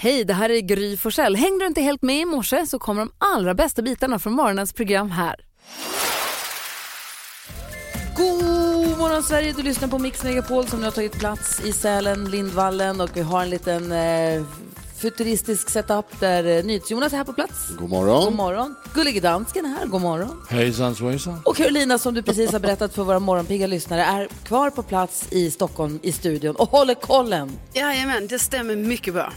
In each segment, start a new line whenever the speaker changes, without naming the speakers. Hej, det här är Gry Forssell. Hängde du inte helt med i morse så kommer de allra bästa bitarna från morgonens program här.
God morgon Sverige, du lyssnar på Mix Megapol som nu har tagit plats i Sälen, Lindvallen och vi har en liten eh, futuristisk setup där eh, NyhetsJonas är här på plats.
God morgon.
God morgon. Gullige dansken är här, god morgon.
Hejsan svejsan.
Och Carolina som du precis har berättat för våra morgonpigga lyssnare är kvar på plats i Stockholm i studion och håller kollen.
Jajamän, det stämmer mycket bra.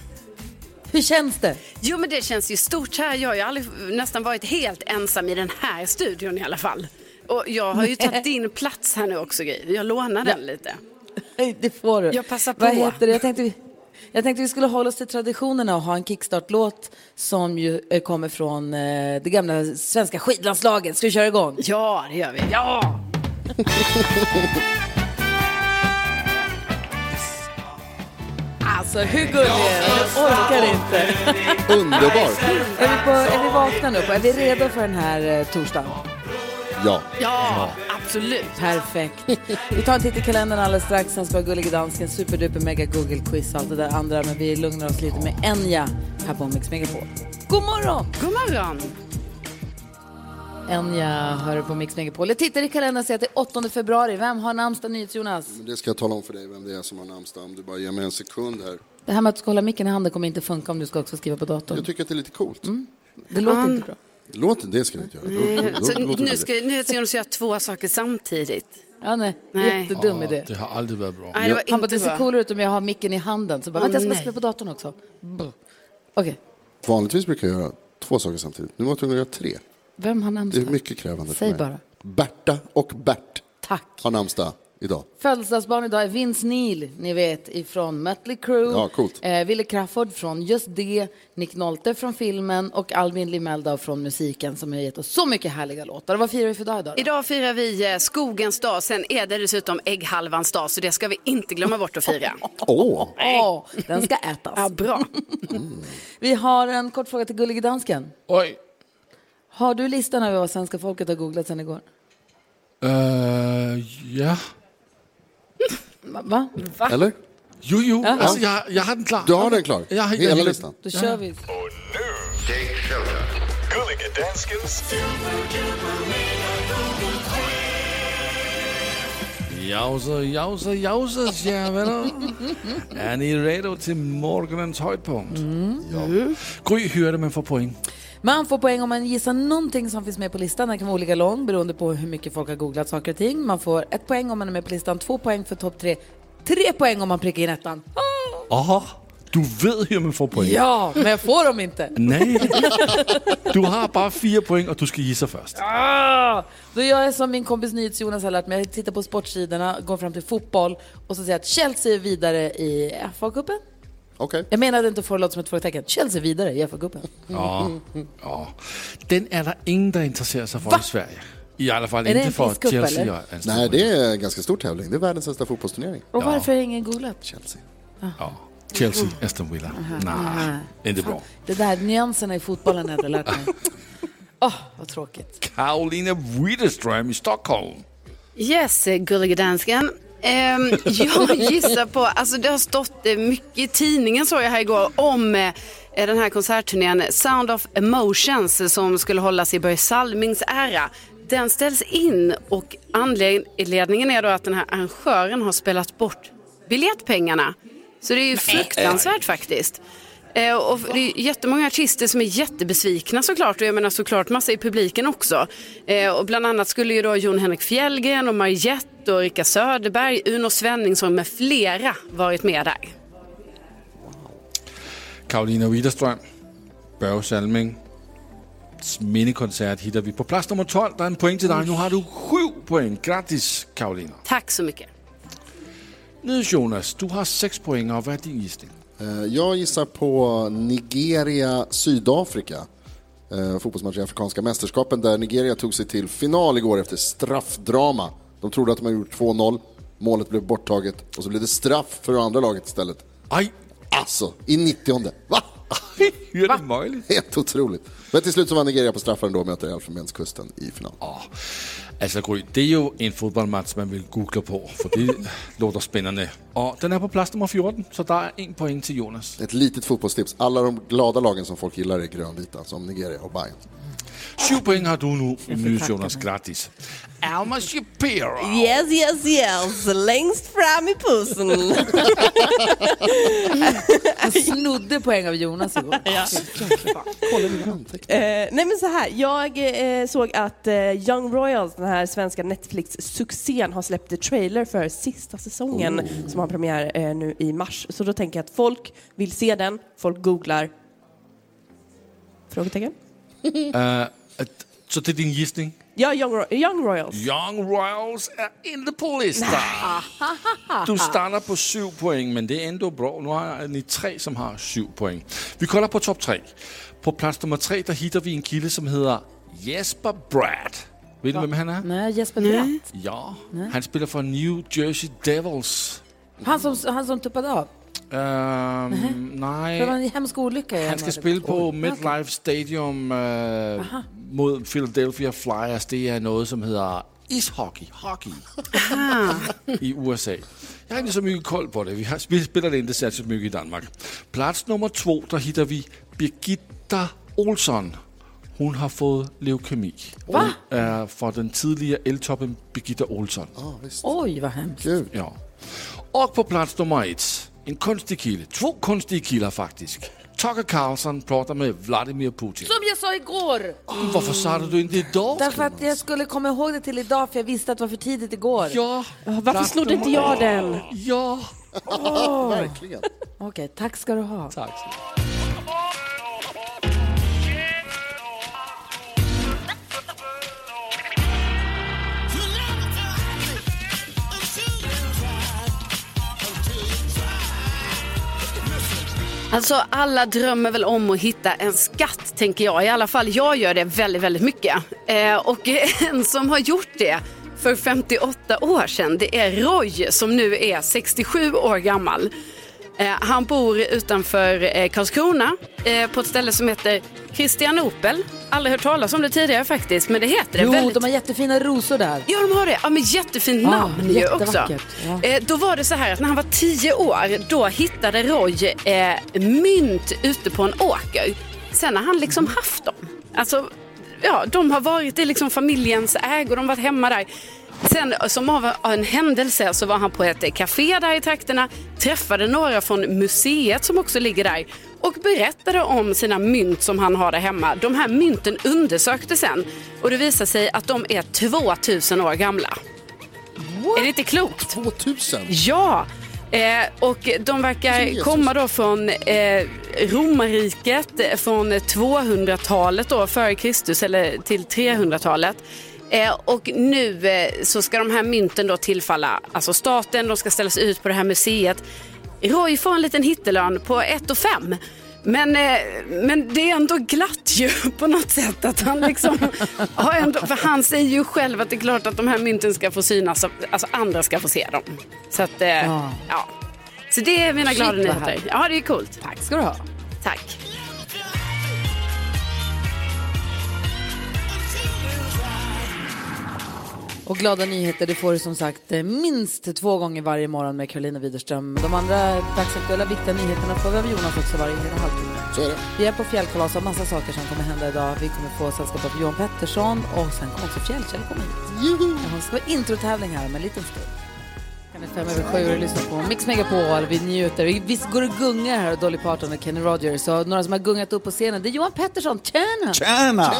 Hur känns det?
Jo, men det känns ju stort här. Jag har ju aldrig, nästan varit helt ensam i den här studion i alla fall. Och jag har ju tagit din plats här nu också, Gry. Jag lånar den lite.
Nej, Det får du.
Jag passar på.
Vad heter det? Jag tänkte, vi- jag tänkte vi skulle hålla oss till traditionerna och ha en kickstart-låt som ju eh, kommer från eh, det gamla svenska skidlandslaget. Ska vi köra igång?
Ja, det gör vi. Ja!
Alltså hur gullig är du? Jag orkar inte.
Underbart.
Är vi, på, är vi vakna nu? Är vi redo för den här eh, torsdagen?
Ja.
Ja, absolut.
Perfekt. Vi tar en titt i kalendern alldeles strax. Sen ska vi ha Gullige Dansken, superduper mega Google-quiz och allt det där andra. Men vi lugnar oss lite med Enya här på Mix Megapol. God morgon!
God morgon.
Enya hör på Mix Megapol. Jag tittar i kalendern och ser att det är 8 februari. Vem har namnsdag NyhetsJonas?
Men Det ska jag tala om för dig vem det är som har namnsdag om du bara ger mig en sekund här.
Det här med att du ska hålla micken i handen kommer inte funka om du ska också skriva på datorn.
Jag tycker att det är lite coolt.
Mm.
Det låter inte bra.
Låt det ska du inte göra. Då- då-
Mm. Så
då- låter
nu
det.
ska nu ska Jonas göra två saker samtidigt.
Ja, nej.
Nej.
Jättedum idé.
Det har aldrig varit bra.
Nej, det var
Han bara,
inte
det ser
bra.
coolare ut om jag har micken i handen. Så bara,
Åh,
vänta jag ska
nej.
spela på datorn också. Buh. Okej,
Vanligtvis brukar jag göra två saker samtidigt. Nu var jag tvungen att göra tre.
vem har
Det är
namnsdag?
mycket krävande
Säg
för mig.
bara.
Berta och Bert
Tack.
har namnsdag idag.
Födelsedagsbarn idag är Vince Neil, ni vet, ifrån Mötley Crüe.
Ja, coolt.
Eh, Wille Crawford från just det, Nick Nolte från filmen och Albin Limeldau från musiken som har gett oss så mycket härliga låtar. Och Vad firar vi för dag idag? då?
Idag firar vi eh, skogens dag, sen är det dessutom ägghalvans dag, så det ska vi inte glömma bort att fira.
Åh,
Åh, den ska ätas.
Ja, bra.
Vi har en kort fråga till Gullige Dansken.
Oj.
Har du listan över vad svenska folket har googlat sedan igår?
Eh, ja.
Va? Va?
eller?
Jo, jo. Alltså, jag, jag har den klar.
Du har den klar?
Jag har
Hela listan?
Då kör vi.
Gulliga Danskens
Jausa, jausa, jausa, kära vänner. Är ni redo till morgonens höjdpunkt? Ja. Gry, hur är det man får poäng?
Man får poäng om man gissar någonting som finns med på listan. Den kan vara olika lång beroende på hur mycket folk har googlat saker och ting. Man får ett poäng om man är med på listan, två poäng för topp tre, tre poäng om man prickar in ettan.
Aha. Du vet hur man får poäng.
Ja, men jag får dem inte.
Nej. Du har bara fyra poäng och du ska gissa först.
Då gör jag som min kompis NyhetsJonas har lärt mig. Jag tittar på sportsidorna, går fram till fotboll och så säger jag att Chelsea är vidare i FA-cupen.
Okej.
Jag menade inte att få det låta som ett frågetecken. Chelsea är vidare i FA-cupen.
Ja. ja. Den är det ingen som intresserar sig för i Sverige. I alla fall
Är det
inte
en
för
priscup,
Chelsea.
eller?
och en stor
Nej,
poäng.
det är en ganska stor tävling. Det är världens äldsta fotbollsturnering.
Och varför har ingen googlat?
Chelsea.
Ja. Chelsea, Aston Villa. Nej, inte bra.
Det där nyanserna i fotbollen hade jag lärt mig. Åh, vad tråkigt.
Karolina Widerström i Stockholm.
Yes, eh, gullige dansken. Ehm, jag gissar på, alltså det har stått eh, mycket i tidningen såg jag här igår om eh, den här konsertturnén Sound of Emotions eh, som skulle hållas i Börje Salmings ära. Den ställs in och anledningen är då att den här arrangören har spelat bort biljettpengarna. Så det är ju fruktansvärt faktiskt. Eh, Och det är ju jättemånga artister som är jättebesvikna såklart och jag menar såklart massa i publiken också. Eh, Och bland annat skulle ju då Jon Henrik Fjällgren och Mariette och Rika Söderberg, Uno Svenningsson med flera varit med där.
Karolina Widerström, Børge Salming. Minnekonsert hittar vi på plats nummer 12. Det är en poäng till dig. Nu har du sju poäng. Grattis, Karolina.
Tack så mycket.
Nu Jonas, du har sex poäng. Och vad är din gissning?
Eh, Jag gissar på Nigeria, Sydafrika. Eh, Fotbollsmatch i Afrikanska mästerskapen där Nigeria tog sig till final igår efter straffdrama. De trodde att de hade gjort 2-0, målet blev borttaget och så blev det straff för det andra laget istället.
Aj,
Alltså, i 90 Va?
Hur är det möjligt?
Helt otroligt. Men till slut så vann Nigeria på straffar ändå och möter Elfenbenskusten i final.
Altså Gry, det er jo en fodboldmatch, man vil google på, for det låter spændende. Og den er på plads nummer 14, så der er en point til Jonas.
Ett litet fotbollstips. Alla de glada lagen som folk gillar är grönvita, som Nigeria og Bayern.
Syv point har du nu, Nys Jonas, gratis. Alma Shapiro.
Yes, yes, yes. Längst fram i pussen.
Jag snodde poäng av Jonas igår.
Eh, nej men så här, jag eh, såg att eh, Young Royals, den här svenska Netflix-succén, har släppt en trailer för sista säsongen som har premiär eh, nu i mars. Så då tänker jag att folk vill se den, folk googlar. Frågetecken?
At- Så det er din gissning.
Ja, Young, Ro- Young Royals.
Young Royals er inte på listan. Du starter på syv point, men det er endnu bra. Nu har ni tre, som har syv point. Vi kolder på top tre. På plads nummer tre, der hitter vi en kilde, som hedder Jesper Brad. Ved du, hvem han er?
Nej, Jesper Bratt.
Ja, han spiller for New Jersey Devils.
Han som, han som tuppade av.
Øhm,
Det var
nej,
en hemsk olycka. i
han
januari.
skal spille på
Oj.
MetLife Stadium øh, mod Philadelphia Flyers. Det er noget, som hedder ishockey, hockey i USA. Jeg har ikke så mycket koll på det. Vi, har, vi spiller det inte särskilt mycket i Danmark. Plats nummer två, der hittar vi Birgitta Olsson. Hun har fået leukemi. Hvad? Er fra den tidligere eltoppen Birgitta Olsson.
Oj, vad hemskt.
Gud.
Ja. Och på plats nummer ett, en konstig kille. Två konstiga killar faktiskt. Tucker Carlson pratar med Vladimir Putin.
Som jag sa igår!
Varför sa du inte idag?
Därför att jag skulle komma ihåg det till idag för jag visste att det var för tidigt igår.
Ja,
Varför snodde inte jag den?
ja.
Verkligen.
Okej, tack ska du ha.
Tack.
Alltså alla drömmer väl om att hitta en skatt tänker jag. I alla fall jag gör det väldigt, väldigt mycket. Eh, och en som har gjort det för 58 år sedan, det är Roy som nu är 67 år gammal. Eh, han bor utanför eh, Karlskrona eh, på ett ställe som heter Christianopel. Aldrig hört talas om det tidigare faktiskt, men det heter det.
Jo,
väldigt...
de har jättefina rosor där.
Ja, de har det. Ja, men jättefint namn ju också.
jättevackert. Ja.
Eh, då var det så här att när han var tio år, då hittade Roy eh, mynt ute på en åker. Sen har han liksom haft dem. Alltså, ja, de har varit i liksom familjens ägo, de har varit hemma där. Sen eh, som av en händelse så var han på ett eh, café där i trakterna, träffade några från museet som också ligger där och berättade om sina mynt som han har där hemma. De här mynten undersöktes sen och det visade sig att de är 2000 år gamla. Är det inte klokt?
2000.
Ja, eh, och de verkar komma då från eh, romarriket eh, från 200-talet då före Kristus eller till 300-talet. Eh, och nu eh, så ska de här mynten då tillfalla alltså staten, de ska ställas ut på det här museet. Roy får en liten hittelön på 1 fem. Men, eh, men det är ändå glatt ju på något sätt att han liksom har ändå, för han säger ju själv att det är klart att de här mynten ska få synas, alltså andra ska få se dem. Så att, eh, ja. Så det är mina
Shit,
glada
vad
nyheter.
härligt.
Ja, det är coolt.
Tack ska du ha.
Tack.
Och glada nyheter det får du som sagt eh, minst två gånger varje morgon med Karolina Widerström. De andra dagsaktuella viktiga nyheterna får vi av Jonas också varje hel halvtimme.
Så är det.
Vi är på fjällkalas och massa saker som kommer hända idag. Vi kommer få sällskap av Johan Pettersson och sen kommer också Fjällkäll komma hit. Hon ska vara introtävling här om en liten stund. Klockan är fem över sju och du lyssnar på Mix Megapol. Vi njuter. Vi- Visst går det gungar här, Dolly Parton och Kenny Rogers. Och några som har gungat upp på scenen, det är Johan Pettersson. Tjena!
Tjena!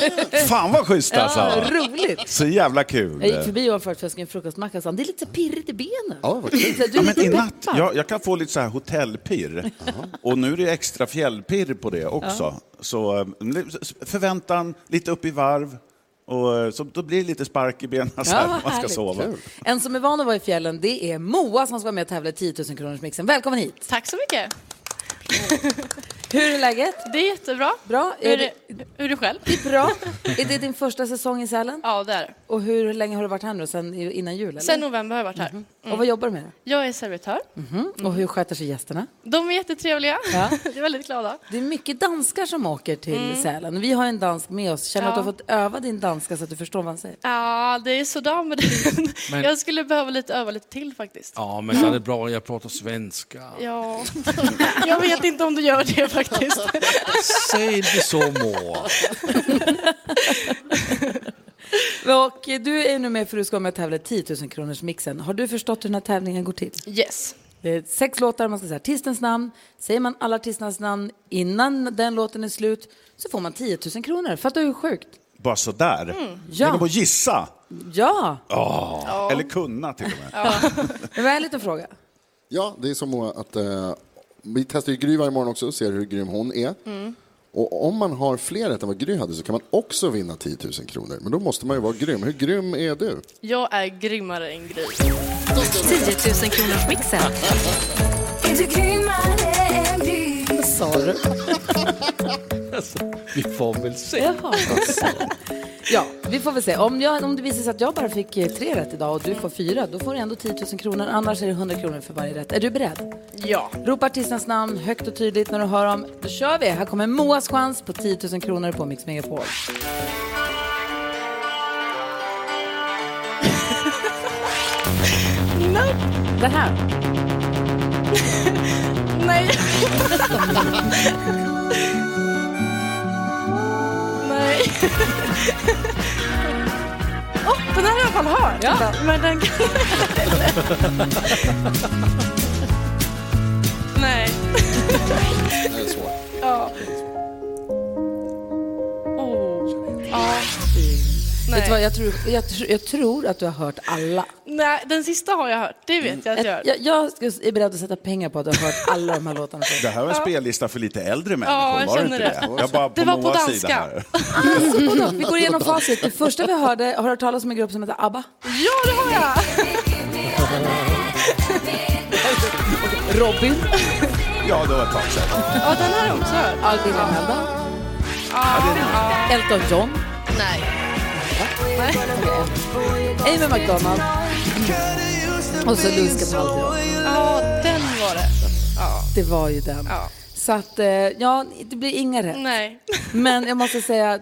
Fan vad schysst
Ja,
alltså.
roligt!
Så jävla
Jag gick
kul.
förbi Johan förut för jag skulle ge en frukostmacka och sa han, det är lite pirrigt i benen.
Ja, vad kul.
Så här, du
Eh. Ja,
är
men
lite
i natt,
peppad.
jag, jag kan få lite så här hotellpirr. Och nu är det extra fjällpirr på det också. Så eh, förväntan, lite upp i varv. Och, eh, så då blir det lite spark i benen så
Ja,
här,
vad
när man ska
härligt.
sova.
En som är van att vara i fjällen, det är Moa som ska vara med och tävla i 10 000 kronors mixen. Välkommen hit!
Tack så mycket.
Hur är läget?
Det är jättebra.
Bra.
Hur är
Är det-
det, Hur är du själv?
Bra. Är det din första säsong i Sälen?
Ja, det är det.
Och hur länge har du varit här nu? Sen i- innan jul? Eller?
Sen
Mm.
november har jag varit här.
Mm-hmm.
Och vad jobbar du med? Mm.
Jag är servitör. Mm.
Och hur sköter sig gästerna?
De är jättetrevliga.
Ja.
De är väldigt glada.
Det är mycket danskar som åker till
Mm.
Sälen. Vi har en dansk med oss. Känner du att du har fått öva din danska så att du förstår vad han säger?
Ja, det är sådär med den.
Men-
Jag skulle behöva lite öva lite till faktiskt.
Ja, men så är det bra, jag pratar svenska.
Ja, jag vet inte om du gör det faktiskt.
Säg inte så, mor.
Och du är nu med för att du ska vara med och tävla i 10 000 kronors mixen. Har du förstått hur den här tävlingen går till?
Yes.
Det är sex låtar, man ska säga artistens namn. Säger man alla artisternas namn innan den låten är slut så får man 10 000 kronor. Fattar du hur sjukt?
Bara sådär.
Mm. Ja.
Genom att gissa.
Ja!
Eller kunna till och med.
Det var en liten fråga.
Ja, det är som att eh, vi testar ju Gry varje morgon också och ser hur grym hon är.
Mm.
Och om man har fler rätt än vad Gry hade så kan man också vinna 10 000 kronor. Men då måste man ju vara grym. Hur grym är du?
Jag är grymmare än
10
Gry.
000 kronors mixen.
Vad sa du?
Vi får väl se.
Ja, vi får väl se. Om, jag, om det visar sig att jag bara fick eh, tre rätt idag och du får fyra, då får du ändå 10 000 kronor. Annars är det 100 kronor för varje rätt. Är du beredd?
Ja.
Ropa artisternas namn högt och tydligt när du hör dem. Då kör vi! Här kommer Moas chans på 10 000 kronor på Mix Megapol. Det här.
Nej. Nej. Åh, den har jag i alla fall hört. Men den kan... Nej.
Det här är svårt.
Oh. Ja.
Vet du vad,
Nej.
jag, tror, jag, tr- jag tror att du har hört alla.
Nej, den sista har jag hört. Det vet jag att jag har.
Ett, jag, jag ska- är beredd att sätta pengar på att du har hört alla de här låtarna. förut.
Det här var en spellista för lite äldre människor,
jag
var det
känner
inte
det.
det? Jag bara på
Det var på
Moas
danska.
sida här.
Och då, vi går igenom facit. Det första vi hörde, har du hört talas om en grupp som heter ABBA?
Ja, det har jag!
Robin,
Ja, det var ett tag sedan.
Ja, den har jag också hört.
Albin Melda, Elton John,
Nej.
Amy McDonald och så Louis Capaldi.
Ja, den var det. Ja.
Det var ju den.
Ja.
Så att, eh, ja, det blir inga rätt.
Nej.
Men jag måste säga,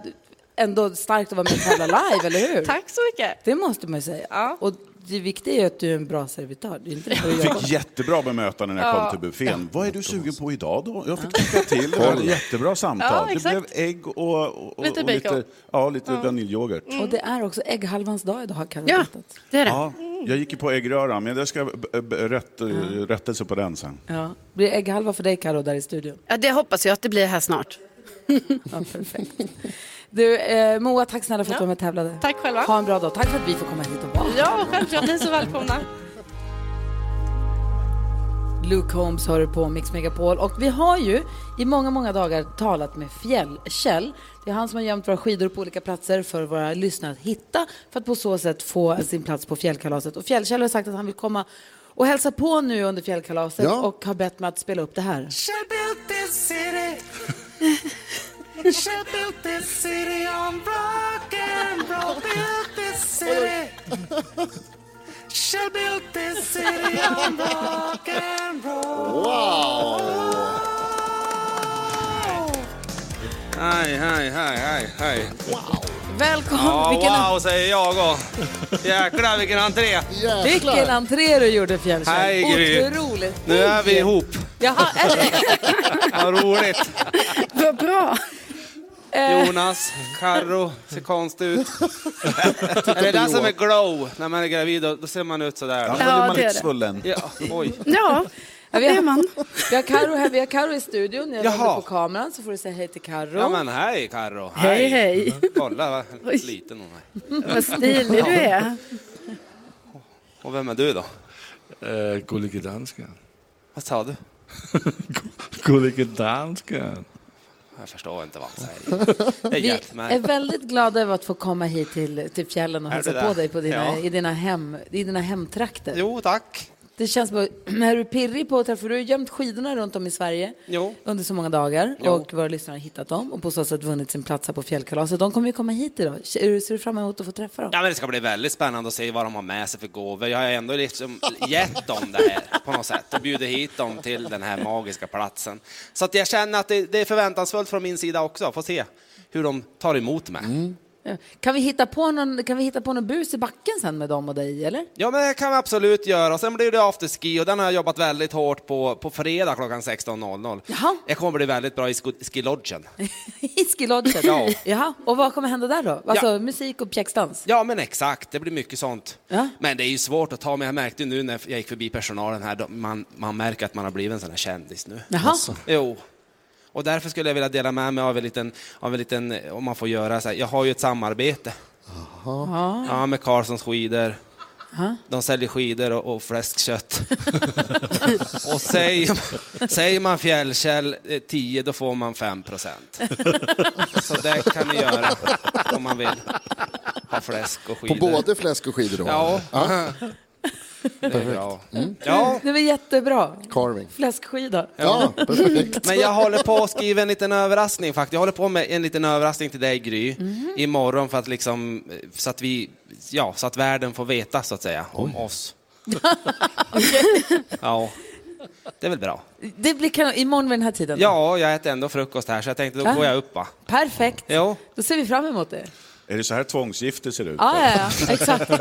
ändå starkt att vara med och tävla live, eller hur?
Tack så mycket.
Det måste man ju säga.
Ja.
Och det viktiga är ju att du är en bra servitör. Det är inte det du
Jag
jobbar.
fick jättebra bemötande när jag kom till buffén. Vad är du sugen på idag då? Jag fick tycka till. Det var ett jättebra
Ja,
samtal. Det blev
exakt.
ägg och, och, och,
Lite
och
bacon.
lite, ja, lite vaniljoghurt.
Och
Mm.
det är också ägghalvans dag idag, kan jag
Ja,
berätta.
det är det.
Ja, jag gick ju på äggröra, men jag ska b- b- rätt, rättelse på den sen.
Ja. Blir det ägghalva för dig, Karo, där i studion?
Ja, det hoppas jag att det blir här snart.
Ja, perfekt. Du, eh, Moa, tack snälla för att du var med och tävlade.
Tack själva.
Ha en bra dag. Tack för att vi får komma hit och vara.
Ja, självklart. Ni är så välkomna.
Luke Holmes hör på Mix Megapol. Och vi har ju i många, många dagar talat med Fjällkäll. Det är han som har gömt våra skidor på olika platser för våra lyssnare att hitta för att på så sätt få sin plats på fjällkalaset. Och Fjällkäll har sagt att han vill komma och hälsa på nu under fjällkalaset
Ja.
och har bett mig att spela upp det här.
Hej, hej, hej, hej, hej.
Välkommen!
Ja,
vilken,
wow, säger jag och. Jäklar vilken entré.
vilken entré du gjorde Fjällkäll!
Hej, Gry.
Otroligt!
Nu är vi ihop.
Jaha, är det-
Vad roligt.
Vad bra! Eh.
Jonas, Karro ser konstig ut. Är det där som är glow? När man är gravid, då, då ser man ut
Ja,
sådär.
men då är man
det är
lite
det.
svullen.
Ja, oj.
Ja,
Ja,
det är man.
Vi har Karo här, vi har Karo i studion. Jag
Jaha.
vänder på kameran så får du säga hej till Karo.
Ja, men hej Karro.
Hej, hej.
Kolla vad liten hon är.
Vad stilig du är.
Och vem är du då?
Uh, gullige dansken.
Vad sa du?
Gullige dansken.
Jag förstår inte vad han säger. Det
vi
hjälper
är
mig.
väldigt glada över att få komma hit till, till fjällen och
Är
hälsa
det
på
där?
dig på dina,
Ja.
i, dina hem, i dina hemtrakter.
Jo, tack.
Det känns bara, är du pirrig på att träffa, för du har ju gömt skidorna runt om i Sverige
Jo.
under så många dagar
Jo.
och våra lyssnare har hittat dem och på så sätt vunnit sin plats här på fjällkalaset. De kommer ju komma hit idag. Ser du- ser du fram emot att få träffa dem?
Ja, men det ska bli väldigt spännande att se vad de har med sig för gåvor. Jag har ju ändå liksom gett dem det här på något sätt och bjudit hit dem till den här magiska platsen. Så att jag känner att det, det är förväntansfullt från min sida också. Få se hur de tar emot mig.
Ja. Kan vi hitta på någon, kan vi hitta på någon bus i backen sen med dem och dig eller?
Ja, men det kan vi absolut göra. Och Sen blir det afterski och den har jag jobbat väldigt hårt på på fredag klockan 16.00.
Jaha.
Jag kommer bli väldigt bra i sko- skilodgen.
I skilodget?
Ja.
Jaha, och vad kommer hända där då? Alltså
Ja.
musik och pjäxdans?
Ja, men exakt. Det blir mycket sånt.
Ja.
Men det är ju svårt att ta med. Jag märkte ju nu när jag gick förbi personalen här, de- man, man märker att man har blivit en sån här kändis nu. Alltså.
Jaha.
Jo. Och därför skulle jag vilja dela med mig av en liten, av en liten eh, om man får göra så här. Jag har ju ett samarbete.
Ja.
Ja, med Carlssons skidor. De säljer skidor och, och fläskkött. och säger, säger man fjällkäll eh, 10, då får man 5 procent. Så det kan ni göra om man vill ha fläsk och
På
skidor.
både fläsk och skidor då?
Ja.
ja.
Det är bra. Ja,
Det var jättebra.
Carving.
Fläskskida.
Ja, perfekt.
men jag håller på att skriva en liten överraskning faktiskt. Jag håller på med en liten överraskning till dig Gry
Mhm.
imorgon för att liksom, eh, så att vi, ja, så att världen får veta så att säga om oss. Ja, det är väl bra.
Det blir kanon. Imorgon vid den här tiden?
Ja, jag äter ändå frukost här så jag tänkte då
Ja.
går jag upp va.
Perfekt.
Jo.
Då ser vi fram emot det.
Är det så här tvångsgifte ser ut?
Ja, ja, ja. exakt.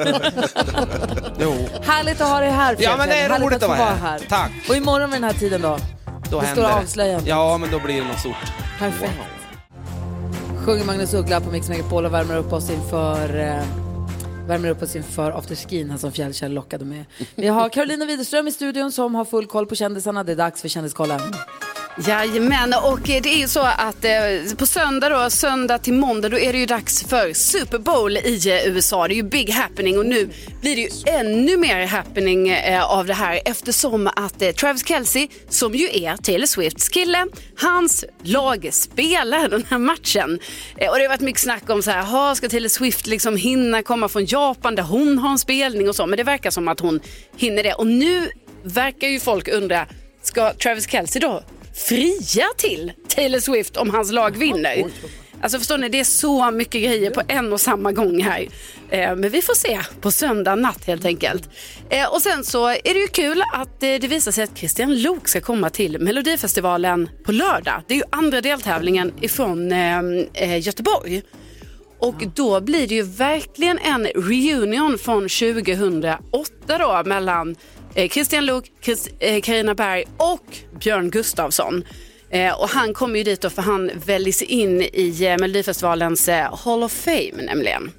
Jo.
Härligt att ha dig här.
Ja, men det är
Fredrik.
roligt att vara här. Tack.
Och imorgon vid den här tiden då?
Då
det
händer
stora avslöjandet.
Ja, men då blir det något stort.
Perfekt. Sjunger Magnus Uggla på Mix Megapol och värmer upp oss inför eh, värmer upp oss inför afterskin, han som Fjällkäll lockade med. Vi har Carolina Widerström i studion som har full koll på kändisarna. Det är dags för Kändiskollen.
Jajamän, och eh, det är ju så att eh, på söndag då, söndag till måndag, då är det ju dags för Super Bowl i eh, USA. Det är ju big happening och nu blir det ju ännu mer happening eh, av det här eftersom att eh, Travis Kelce, som ju är Taylor Swifts kille, hans lag spelar den här matchen. Eh, och det har varit mycket snack om så här, "Ha, ska Taylor Swift liksom hinna komma från Japan där hon har en spelning och så, men det verkar som att hon hinner det. Och nu verkar ju folk undra, ska Travis Kelce då fria till Taylor Swift om hans lag vinner. Alltså förstår ni, det är så mycket grejer på en och samma gång här. Eh, Men vi får se på söndag natt helt enkelt. Eh, Och sen så är det ju kul att eh, det visar sig att Christian Lok ska komma till Melodifestivalen på lördag. Det är ju andra deltävlingen ifrån eh, eh, Göteborg. Och då blir det ju verkligen en reunion från 2008 då mellan eh, Christian Luuk, Chris- eh, Carina Berg och Björn Gustafsson. Eh, och han kommer ju dit då för han väljs in i eh, Melodifestivalens eh, Hall of Fame nämligen.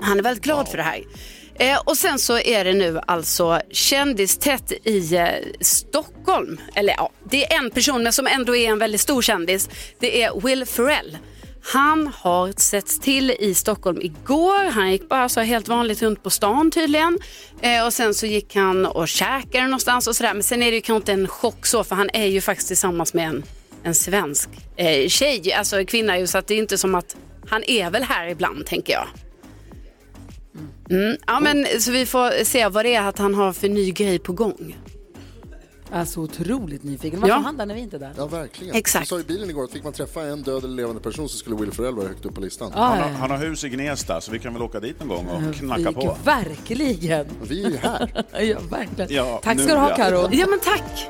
Han är väldigt glad för det här. Eh, och sen så är det nu alltså kändistätt i eh, Stockholm. Eller ja, det är en person men som ändå är en väldigt stor kändis. Det är Will Ferrell. Han har setts till i Stockholm igår. Han gick bara så här helt vanligt runt på stan tydligen. Eh, och sen så gick han och käkade någonstans och sådär. Men sen är det ju kanske inte en chock så för han är ju faktiskt tillsammans med en, en svensk eh, tjej, alltså en kvinna ju. Så att det är inte som att han är väl här ibland tänker jag. Mm, ja, men, så vi får se vad det är att han har för ny grej på gång.
Jag är så otroligt nyfiken. Varför
Ja.
ja. han där när vi inte är där?
Ja, verkligen.
Exakt.
Jag sa i bilen igår att fick man träffa en död eller levande person så skulle Will Ferrell vara högt upp på listan.
Han, har, han har hus i Gnesta, så vi kan väl åka dit någon gång och knacka
Fik,
på.
Verkligen.
Vi är ju här.
Ja, verkligen.
Ja,
Tack
nu,
ska du ha
ja.
Karo.
Ja, men tack.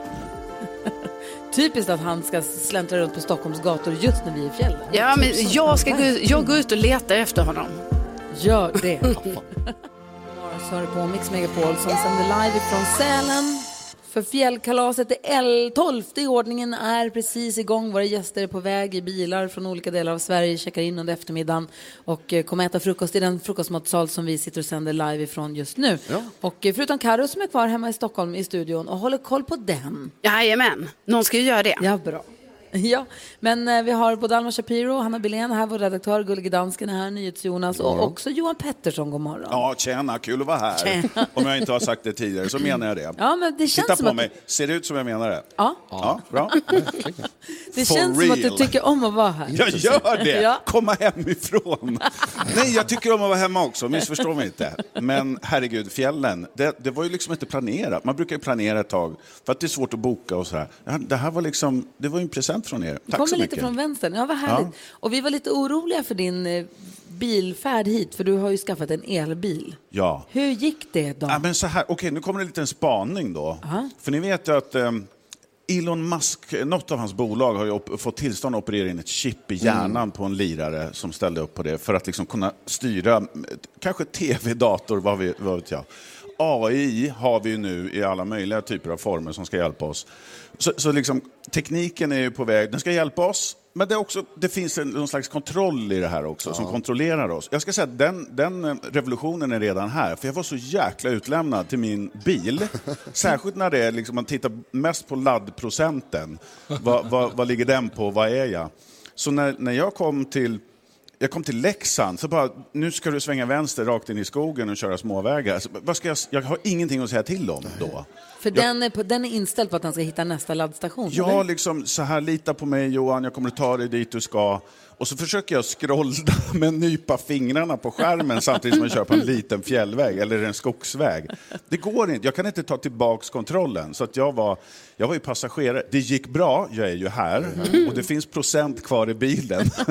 Typiskt att han ska släntra runt på Stockholms gator just när vi är i fjällen.
Ja, men jag, ska gå, ut- jag går ut och letar efter honom.
Gör det. Morgon så hör du på Mix Megapol som sänder live ifrån Sälen. För fjällkalaset, det el- tolfte i ordningen, är precis igång. Våra gäster är på väg i bilar från olika delar av Sverige, checkar in under eftermiddagen och eh, kommer äta frukost i den frukostmatsal som vi sitter och sänder live ifrån just nu. Och eh, förutom Karo som är kvar hemma i Stockholm i studion och håller koll på den.
Jajamän, någon ska ju göra det.
Ja, bra. Ja, men eh, vi har både Alma Shapiro, Hanna Billén här, vår redaktör, Gullige Dansken är här, NyhetsJonas och
Ja.
också Johan Pettersson, god morgon.
Ja, tjena, kul att vara här.
Tjena.
Om jag inte har sagt det tidigare så menar jag det.
Ja, men det känns
Titta
som
på
att-
mig, ser det ut som jag menar det?
Ja.
Ja, bra.
Det
For
känns som att
real.
du tycker om att vara här.
Jag gör det!
Ja.
Komma hemifrån. Nej, jag tycker om att vara hemma också, missförstå mig inte. Men herregud, fjällen, det, det var ju liksom inte planerat. Man brukar ju planera ett tag, för att det är svårt att boka och så här. Ja, Det här var liksom, det var ju en present från er.
Du
Tack
kommer
så
lite
mycket.
från vänstern, ja vad härligt.
Ja.
Och vi var lite oroliga för din eh, bilfärd hit, för du har ju skaffat en elbil.
Ja.
Hur gick det då?
Ja, men så här, okej, nu kommer en liten spaning då. För ni vet ju att ehm, Elon Musk, eh, något av hans bolag har ju op- fått tillstånd att operera in ett chip i hjärnan på en lirare som ställde upp på det för att liksom kunna styra, eh, kanske tv, dator, vad, vi, vad vet jag. AI har vi ju nu i alla möjliga typer av former som ska hjälpa oss. Så, så liksom, tekniken är ju på väg, den ska hjälpa oss, men det, är också, det finns en, någon slags kontroll i det här också som kontrollerar oss. Jag ska säga att den, den eh, revolutionen är redan här, för jag var så jäkla utlämnad till min bil. Särskilt när det är, liksom, man tittar mest på laddprocenten. Vad, vad, vad ligger den på? Vad är jag? Så när, när jag kom till jag kom till Leksand, så bara, nu ska du svänga vänster rakt in i skogen och köra småvägar. Så, vad ska jag, s- jag har ingenting att säga till om då.
För
Jag-
den, är på, den är inställd på att han ska hitta nästa laddstation.
Ja,
eller?
liksom så här, lita på mig Johan, jag kommer att ta dig dit du ska. Och så försöker jag scrolla med nypa fingrarna på skärmen samtidigt som jag kör på en liten fjällväg eller en skogsväg. Det går inte, jag kan inte ta tillbaks kontrollen. Så att jag var, jag var ju passagerare. Det gick bra, jag är ju här och det finns procent kvar i bilen.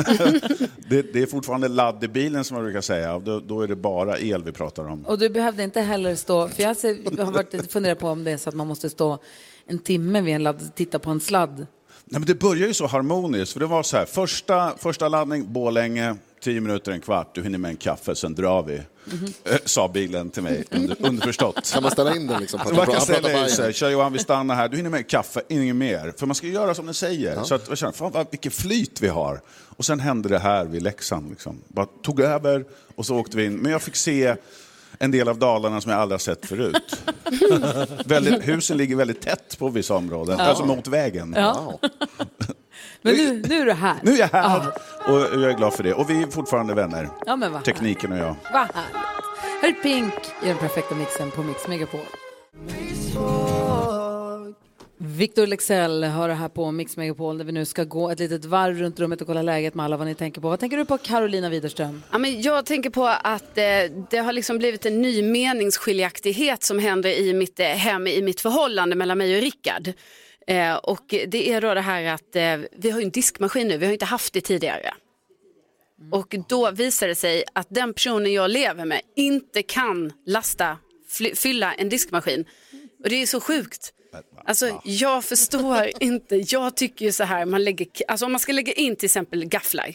det, det är fortfarande ladd i bilen som jag brukar säga, och då, då är det bara el vi pratar om.
Och du behövde inte heller stå, för jag ser, jag har varit, funderat på om det är så att man måste stå en timme vid en ladd, titta på en sladd.
Nej, men det börjar ju så harmoniskt. För det var så här, första, första laddning, Borlänge, 10 minuter, en kvart, du hinner med en kaffe, sen drar vi. Eh, Sa bilen till mig, under, underförstått.
Kan man ställa in den liksom? På att
Man
prata-
kan
prata
ställa in
Bayern?
sig, kör Johan vi stannar här, du hinner med en kaffe, inget mer. För man ska ju göra som den säger. Så att jag känner, fan vad, vilket flyt vi har. Och sen hände det här vid Leksand. Liksom. Bara tog över och så åkte vi in. Men jag fick se en del av Dalarna som jag aldrig har sett förut. väldigt, husen ligger väldigt tätt på vissa områden,
Ja.
alltså mot vägen.
Ja. Men nu, nu är du här.
Nu är jag här och jag är glad för det. Och vi är fortfarande vänner.
Ja, men vad
Tekniken och jag.
Vad härligt. Här är Pink i den perfekta mixen på Mix Megapol. Victor Lexell hör det här på Mix Megapol där vi nu ska gå ett litet varv runt rummet och kolla läget med alla vad ni tänker på. Vad tänker du på Carolina Widerström?
Ja, men jag tänker på att eh, det har liksom blivit en ny meningsskiljaktighet som händer i mitt eh, hem, i mitt förhållande mellan mig och Rickard. Eh, och det är då det här att eh, vi har ju en diskmaskin nu, vi har ju inte haft det tidigare. Och då visar det sig att den personen jag lever med inte kan lasta, fly, fylla en diskmaskin. Och det är så sjukt. Alltså jag förstår inte, jag tycker ju så här, man lägger, alltså om man ska lägga in till exempel gafflar,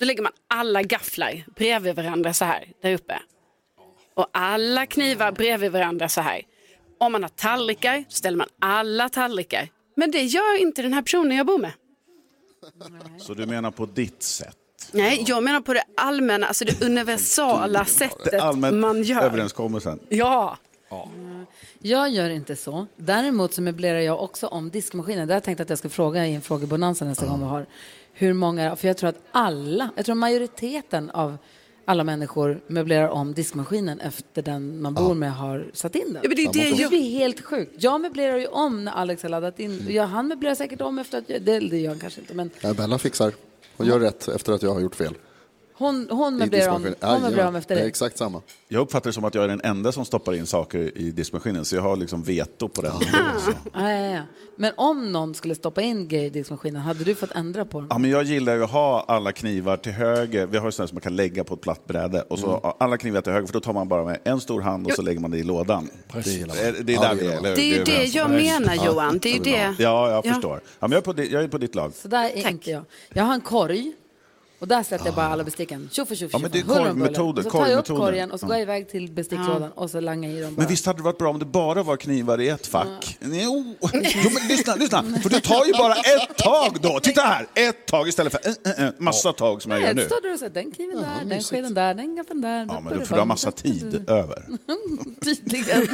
då lägger man alla gafflar bredvid varandra så här, där uppe. Och alla knivar bredvid varandra så här. Om man har tallrikar, så ställer man alla tallrikar. Men det gör inte den här personen jag bor med.
Så du menar på ditt sätt?
Nej, jag menar på det allmänna, alltså det universala
Det
sättet
allmänt
man gör.
överenskommelsen.
Ja.
Jag gör inte så. Däremot så möblerar jag också om diskmaskinen. Där tänkte jag att jag ska fråga i en frågebonanza nästa gång vi har. Hur många, för jag tror att alla, jag tror majoriteten av alla människor möblerar om diskmaskinen efter den man bor med har satt in den.
Ja, men det är Man det måste- jag-
det är helt sjukt. Jag möblerar ju om när Alex har laddat in.
Mm.
Ja, han möblerar säkert om efter att jag, det, det gör han kanske inte, men
Ja, Bella fixar. Hon gör rätt efter att jag har gjort fel.
hon, hon
I
möblerar om,
diskmaskinen.
hon möblerar om
Jajamän.
efter
Det är
dig.
exakt samma.
Jag uppfattar det som att jag är den enda som stoppar in saker i diskmaskinen, så jag har liksom veto på den.
Ja, ja, ja. Men om någon skulle stoppa in grejer i diskmaskinen, hade du fått ändra på den?
Ja, men jag gillar ju att ha alla knivar till höger. Vi har ju sådana som man kan lägga på ett platt bräde. Och så har alla knivar till höger, för då tar man bara med en stor hand och så lägger man det i lådan.
Precis.
Det är, det är där vi är, eller hur?
Det är ju
vi
det
överens om.
jag menar Johan, det är ju det.
Ja, jag
Ja.
förstår. Ja, men jag, är på di- jag är på ditt lag.
Så där är inte jag. Jag har en korg Och där släppte jag bara alla besticken. Tjoff och tjoff
Ah. Ja, men det är
tjoff. Huller om buller.
korgmetoder,
Så tar jag upp
korgmetoder.
korgen och så går jag iväg till besticklådan
Ja.
och så langar jag i dem bara.
Men visst hade det varit bra om det bara var knivar i ett fack? Jo, jo men lyssna, lyssna. För du tar ju bara ett tag då. Titta här, ett tag istället för en, en, en massa tag som jag
Nej,
gör
då
nu.
står du och säger den kniven där, den skeden där, den gaffen där.
Ja, men då får du ha massa
Mm.
tid över.
Tydligen.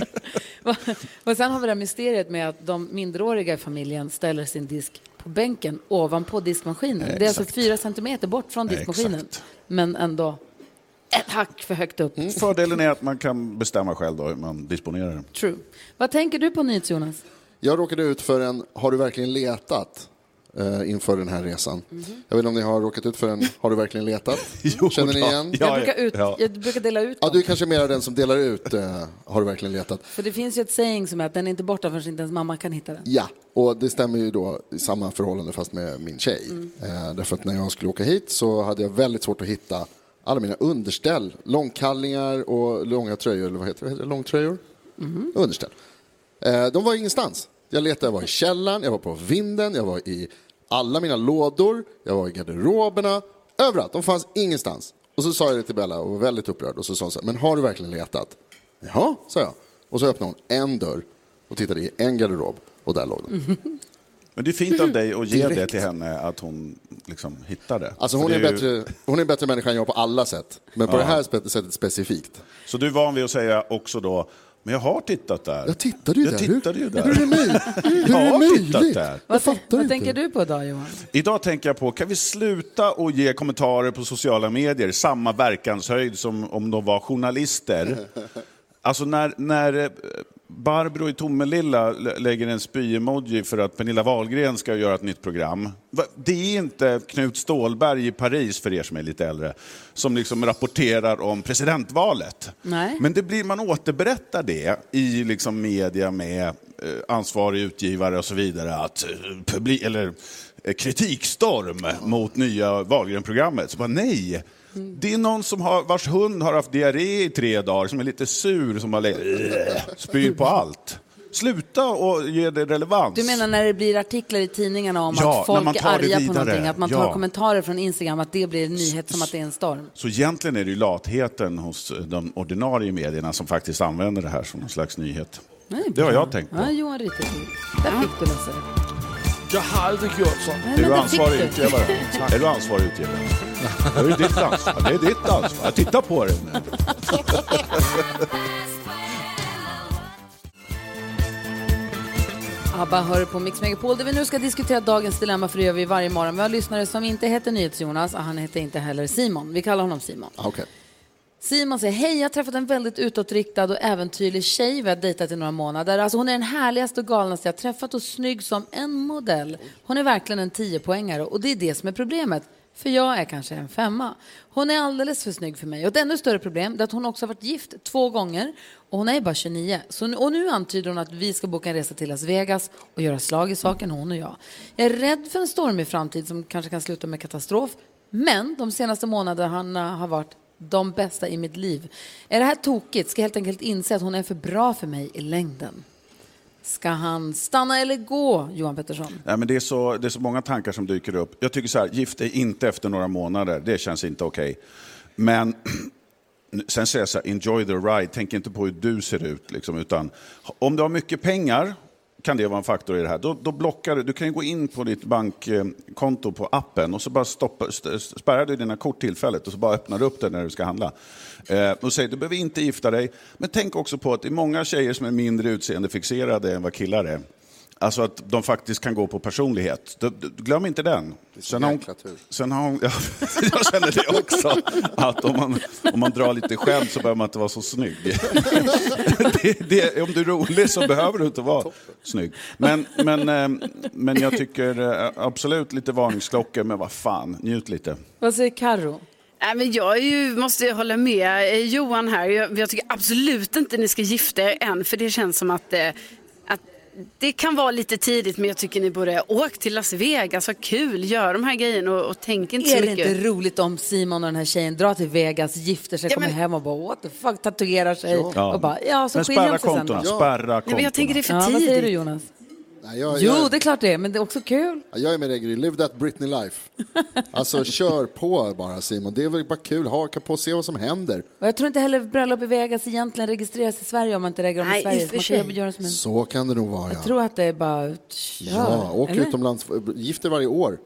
och sen har vi det här mysteriet med att de minderåriga i familjen ställer sin disk på bänken ovanpå diskmaskinen.
Eh,
det är alltså
exakt.
fyra centimeter bort från
Eh,
diskmaskinen. Men ändå ett hack för högt upp.
Fördelen är att man kan bestämma själv då hur man disponerar den.
True. Vad tänker du på nyhets, Jonas?
Jag råkade ut för en Har du verkligen letat? eh, inför den här resan. Jag vet inte om ni har råkat ut för en Har du verkligen letat? Känner ni
då.
igen?
Jag brukar, ut, jag brukar dela ut
Ja, du är kanske mer den som delar ut eh, Har du verkligen letat?
För det finns ju ett saying som är att den är inte borta förrän inte ens mamma kan hitta den.
Ja, och det stämmer ju då i samma förhållande fast med min tjej. Eh, därför att när jag skulle åka hit så hade jag väldigt svårt att hitta alla mina underställ, långkallingar och långa tröjor, eller vad heter det, heter det långtröjor? Underställ. Eh, de var ingenstans. Jag letade, jag var i källaren, jag var på vinden, jag var i alla mina lådor, jag var i garderoberna, överallt. De fanns ingenstans. Och så sa jag det till Bella och var väldigt upprörd och så sa hon så här, men har du verkligen letat? Jaha, sa jag. Och så öppnade hon en dörr och tittade i en garderob och där låg de.
Mhm. Men det är fint av dig att ge det
Direkt.
till henne, att hon liksom hittar det.
Alltså
För
hon är,
det ju-
bättre, hon är en bättre människa än jag på alla sätt. Men på
Ja.
det här spe- sättet specifikt.
Så du är van vid att säga också då, men jag har tittat där. Jag
tittade ju
jag
där.
Tittade ju där.
Hur är det möjligt? Hur är
Jag
det
har tittat
möjligt?
där.
Vad, vad tänker du på idag, Johan?
Idag tänker jag på, kan vi sluta och ge kommentarer på sociala medier samma verkanshöjd som om de var journalister? Alltså när, när eh, Barbro i Tomelilla lä- lägger en spy-emoji för att Pernilla Wahlgren ska göra ett nytt program. Va- Det är inte Knut Stålberg i Paris, för er som är lite äldre, som liksom rapporterar om presidentvalet.
Nej.
Men det blir, man återberättar det i liksom media med eh, ansvarig utgivare och så vidare. Att, eh, publi- eller, eh, kritikstorm mot nya Wahlgren-programmet. Så bara, nej, det är någon som har, vars hund har haft diarré i tre dagar, som är lite sur, som har le- spyr på allt. Sluta och ge det relevans.
Du menar när det blir artiklar i tidningarna om
Ja,
att
när man
folk är
tar det
arga på
vidare.
någonting, att man tar
Ja.
kommentarer från Instagram, att det blir en nyhet som att det är en storm?
Så egentligen är det ju latheten hos de ordinarie medierna som faktiskt använder det här som någon slags nyhet.
Nej,
Det har jag tänkt på.
Ja, Johan Rittershug. Där fick du läsa det.
Jag har aldrig gjort så.
Är du ansvarig utgivare? Är du ansvarig utgivare? Det är ju ditt ansvar. Det är ditt ansvar. Titta på det nu.
ABBA hör på Mix Megapol där vi nu ska diskutera dagens dilemma för det gör vi varje morgon. Vi har lyssnare som inte heter NyhetsJonas och han heter inte heller Simon. Vi kallar honom Simon.
Ah, Okej.
Simon säger, hej, jag har träffat en väldigt utåtriktad och äventyrlig tjej vi har dejtat i några månader. Alltså hon är den härligaste och galnaste jag har träffat och snygg som en modell. Hon är verkligen en tiopoängare och det är det som är problemet. För jag är kanske en femma. Hon är alldeles för snygg för mig. Och ett ännu större problem det är att hon också har varit gift två gånger och hon är bara 29. Så nu, och nu antyder hon att vi ska boka en resa till Las Vegas och göra slag i saken, hon och jag. Jag är rädd för en stormig framtid som kanske kan sluta med katastrof. Men de senaste månaderna har varit de bästa i mitt liv. Är det här tokigt? Ska jag helt enkelt inse att hon är för bra för mig i längden? Ska han stanna eller gå, Johan Pettersson?
Nej, men det, är så, det är så många tankar som dyker upp. Jag tycker så här, gift dig inte efter några månader. Det känns inte okej. Men sen säger jag så här, enjoy the ride. Tänk inte på hur du ser ut. Liksom, utan, om du har mycket pengar kan det vara en faktor i det här. Då, då blockar du. Du kan ju gå in på ditt bankkonto på appen och så bara stoppa, st- spärrar du dina kort tillfälligt och så bara öppnar du upp det när du ska handla. Eh, och säger, du behöver inte gifta dig. Men tänk också på att det är många tjejer som är mindre utseendefixerade än vad killar är. Alltså att de faktiskt kan gå på personlighet. Du, du, glöm inte den. Sen har, hon, sen har hon... Ja, jag känner det också. Att om man, om man drar lite skämt så behöver man inte vara så snygg. det, det, om du är rolig så behöver du inte vara snygg. Men, men, eh, men jag tycker eh, absolut lite varningsklockor. Men vad fan, njut lite.
Vad säger Karo?
Nej, men jag är ju, måste ju hålla med eh, Johan här. Jag, jag tycker absolut inte ni ska gifta er än, för det känns som att, eh, att det kan vara lite tidigt, men jag tycker ni borde åka till Las Vegas, ha kul, gör de här grejerna och, och tänk inte så
är det
mycket.
inte roligt om Simon och den här tjejen drar till Vegas, gifter sig, kommer hem och bara what the fuck, tatuerar sig
Ja.
och bara ja, så
Men
skiljer de
spärra
sig sen då.
kontona, spärra Ja, men jag kontona. tänker det är för
Ja, vad säger du
tidigt.
Jonas?
Nej, jag,
Jo,
jag,
det är klart det är, men det är också kul.
jag är med dig, Gry. Live that Britney life. Alltså, kör på bara, Simon. Det är väl bara kul. Haka på, se vad som händer.
Och jag tror inte heller bröllop i Vegas egentligen registreras i Sverige om man inte registrerar dem i
Nej,
Sverige.
i och för
man kan
sig.
ju göra det som en...
Så kan det nog vara,
Jag
ja.
tror att det är bara... Kör,
Ja, åk
eller?
utomlands. Gift dig varje år.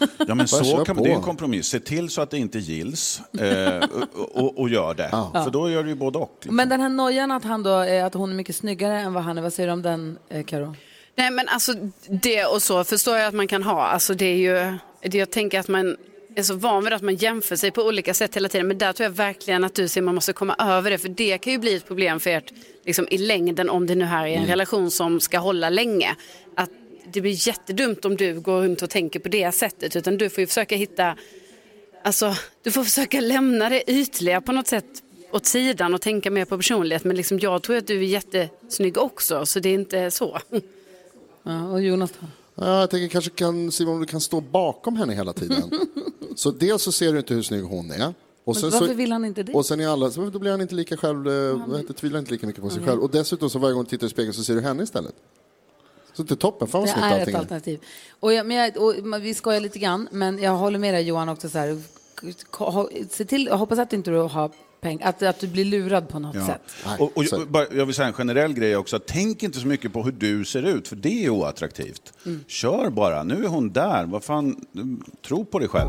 Ja, men
Bara
så
kör
kan,
på.
det är en kompromiss. Se till så att det inte gills eh, och, och, och gör det. För då gör du ju både och. liksom.
Men den här nojan att, han då, är- att hon är mycket snyggare än vad han är, vad säger du om den, eh, Karo?
Nej men alltså det och så förstår jag att man kan ha. Alltså det är ju, det jag tänker att man är så van vid att man jämför sig på olika sätt hela tiden. Men där tror jag verkligen att du ser man måste komma över det. För det kan ju bli ett problem för ert liksom, i längden om det nu här är en
Mm.
relation som ska hålla länge. Att det blir jättedumt om du går runt och tänker på det sättet. Utan du får ju försöka hitta, alltså du får försöka lämna det ytliga på något sätt åt sidan och tänka mer på personlighet. Men liksom, jag tror att du är jättesnygg också. Så det är inte så.
Ja, och Jonas då?
Ja, jag tänker kanske kan, Simon, om du kan stå bakom henne hela tiden. så dels så ser du inte hur snygg hon är.
Men
Och sen
varför
så,
vill han inte det?
Och sen är alla, så då blir han inte lika själv, eh, vad heter, tvivlar inte lika mycket på sig
Nej.
själv. Och dessutom så varje gång du tittar i spegeln så ser du henne istället. Så det är toppen, fan vad
Det
snyggt
är ett
allting är.
alternativ. Och jag, men jag, och man- vi skojar lite grann, men jag håller med dig Johan också. Så här, Ko- ha- se till, jag hoppas att inte du har peng, att, att du blir lurad på något
Ja.
sätt.
Och, och, jag- bara- jag vill säga en generell grej också. Tänk inte så mycket på hur du ser ut, för det är oattraktivt.
Mm.
Kör bara. Nu är hon där. Vad fan, tro på dig själv.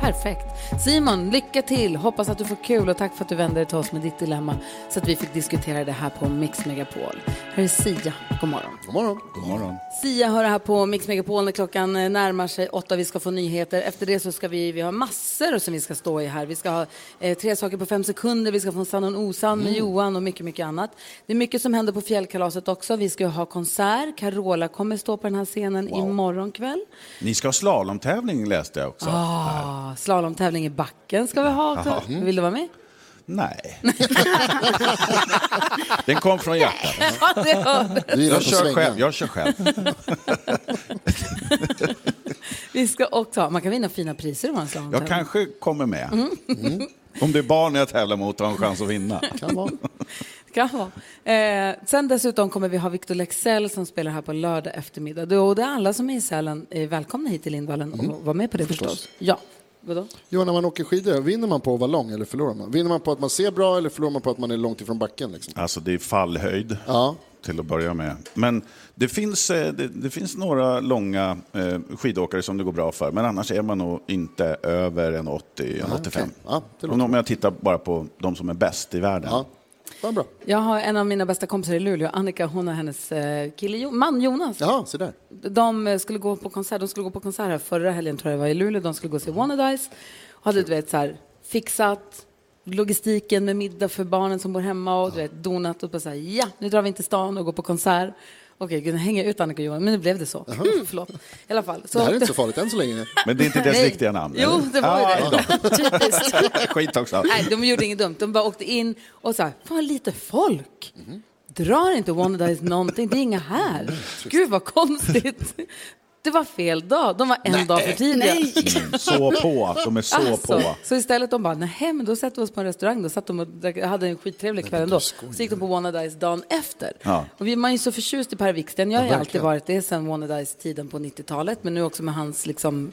Perfekt. Simon, lycka till. Hoppas att du får kul och tack för att du vände dig till oss med ditt dilemma så att vi fick diskutera det här på Mix Megapol. Här är Sia. God morgon.
God morgon.
God morgon.
Sia hör här på Mix Megapol när klockan eh, närmar sig åtta. Vi ska få nyheter. Efter det så ska vi, vi har massor som vi ska stå i här. Vi ska ha eh, tre saker på fem sekunder. Vi ska få en sann och en osann med
Mm.
Johan och mycket, mycket annat. Det är mycket som händer på fjällkalaset också. Vi ska ju ha konsert. Carola kommer stå på den här scenen imorgon kväll.
Ni ska ha slalomtävling läste jag också.
Ah, slalomtävling i backen ska vi ha också.
Jaha. Mm.
Vill du vara med?
Nej. Den kom från hjärtat.
Ja, det hördes. Du gillar
jag,
att
kör
svänga.
själv, jag kör själv.
Vi ska också ha, man kan vinna fina priser om man slår
Jag kanske kommer med.
Mm.
Om det är barn jag tävlar mot har jag en chans att vinna.
Kan vara. Kan vara. Eh, sen dessutom kommer vi ha Victor Lexell som spelar här på lördag eftermiddag. Då- Och det är alla som är i Sälen eh, välkomna hit till Lindvallen och vara med på det förstås. Ja. Vadå?
Jo, när man åker skidor, vinner man på att vara lång eller förlorar man? Vinner man på att man ser bra eller förlorar man på att man är långt ifrån backen? Liksom?
Alltså det är fallhöjd till att börja med. Men det finns, eh, det, det finns några långa eh, skidåkare som det går bra för. Men annars är man nog inte över en 80, en
Nej,
85.
okej. Ja, det låter
Om om jag tittar bara på de som är bäst i världen.
Vad bra.
Jag har en av mina bästa kompisar i Luleå, Annika, hon och hennes eh, kille, Jo- man Jonas.
Ja, så där.
De eh, skulle gå på konsert, de skulle gå på konsert här förra helgen tror jag det var i Luleå, de skulle gå och se Wannadies. Och hade du vet så här fixat logistiken med middag för barnen som bor hemma och du vet donat och bara så här, ja, nu drar vi inte till stan och går på konsert. Okej, gud, nu hänger jag ut Annika och Johan, men nu blev det så. Mm, förlåt. I alla fall. Så
Det här är inte så farligt än så länge.
Men det är inte deras
Nej.
riktiga namn?
Jo,
eller?
det var ju
Ah,
det.
ja.
Typiskt.
Skit också.
Nej, de gjorde inget dumt. De bara åkte in och sa, fan lite folk. Drar inte Wannadies någonting? Det är inga här. Gud vad konstigt. Det var fel dag. De var en
Nej.
dag för tidiga.
Nej. Mm, så på. De är så
Alltså.
på.
Så istället de bara, nej men då sätter vi oss på en restaurang. Då satt de och drack- hade en skittrevlig kväll ändå. Så gick de på Wannadies dagen efter.
Ja.
Och vi, man är ju så förtjust i Per Wiksten. Jag har
Ja,
ju alltid
verkligen.
varit det sedan Wannadies-tiden på 90-talet. Men nu också med hans liksom,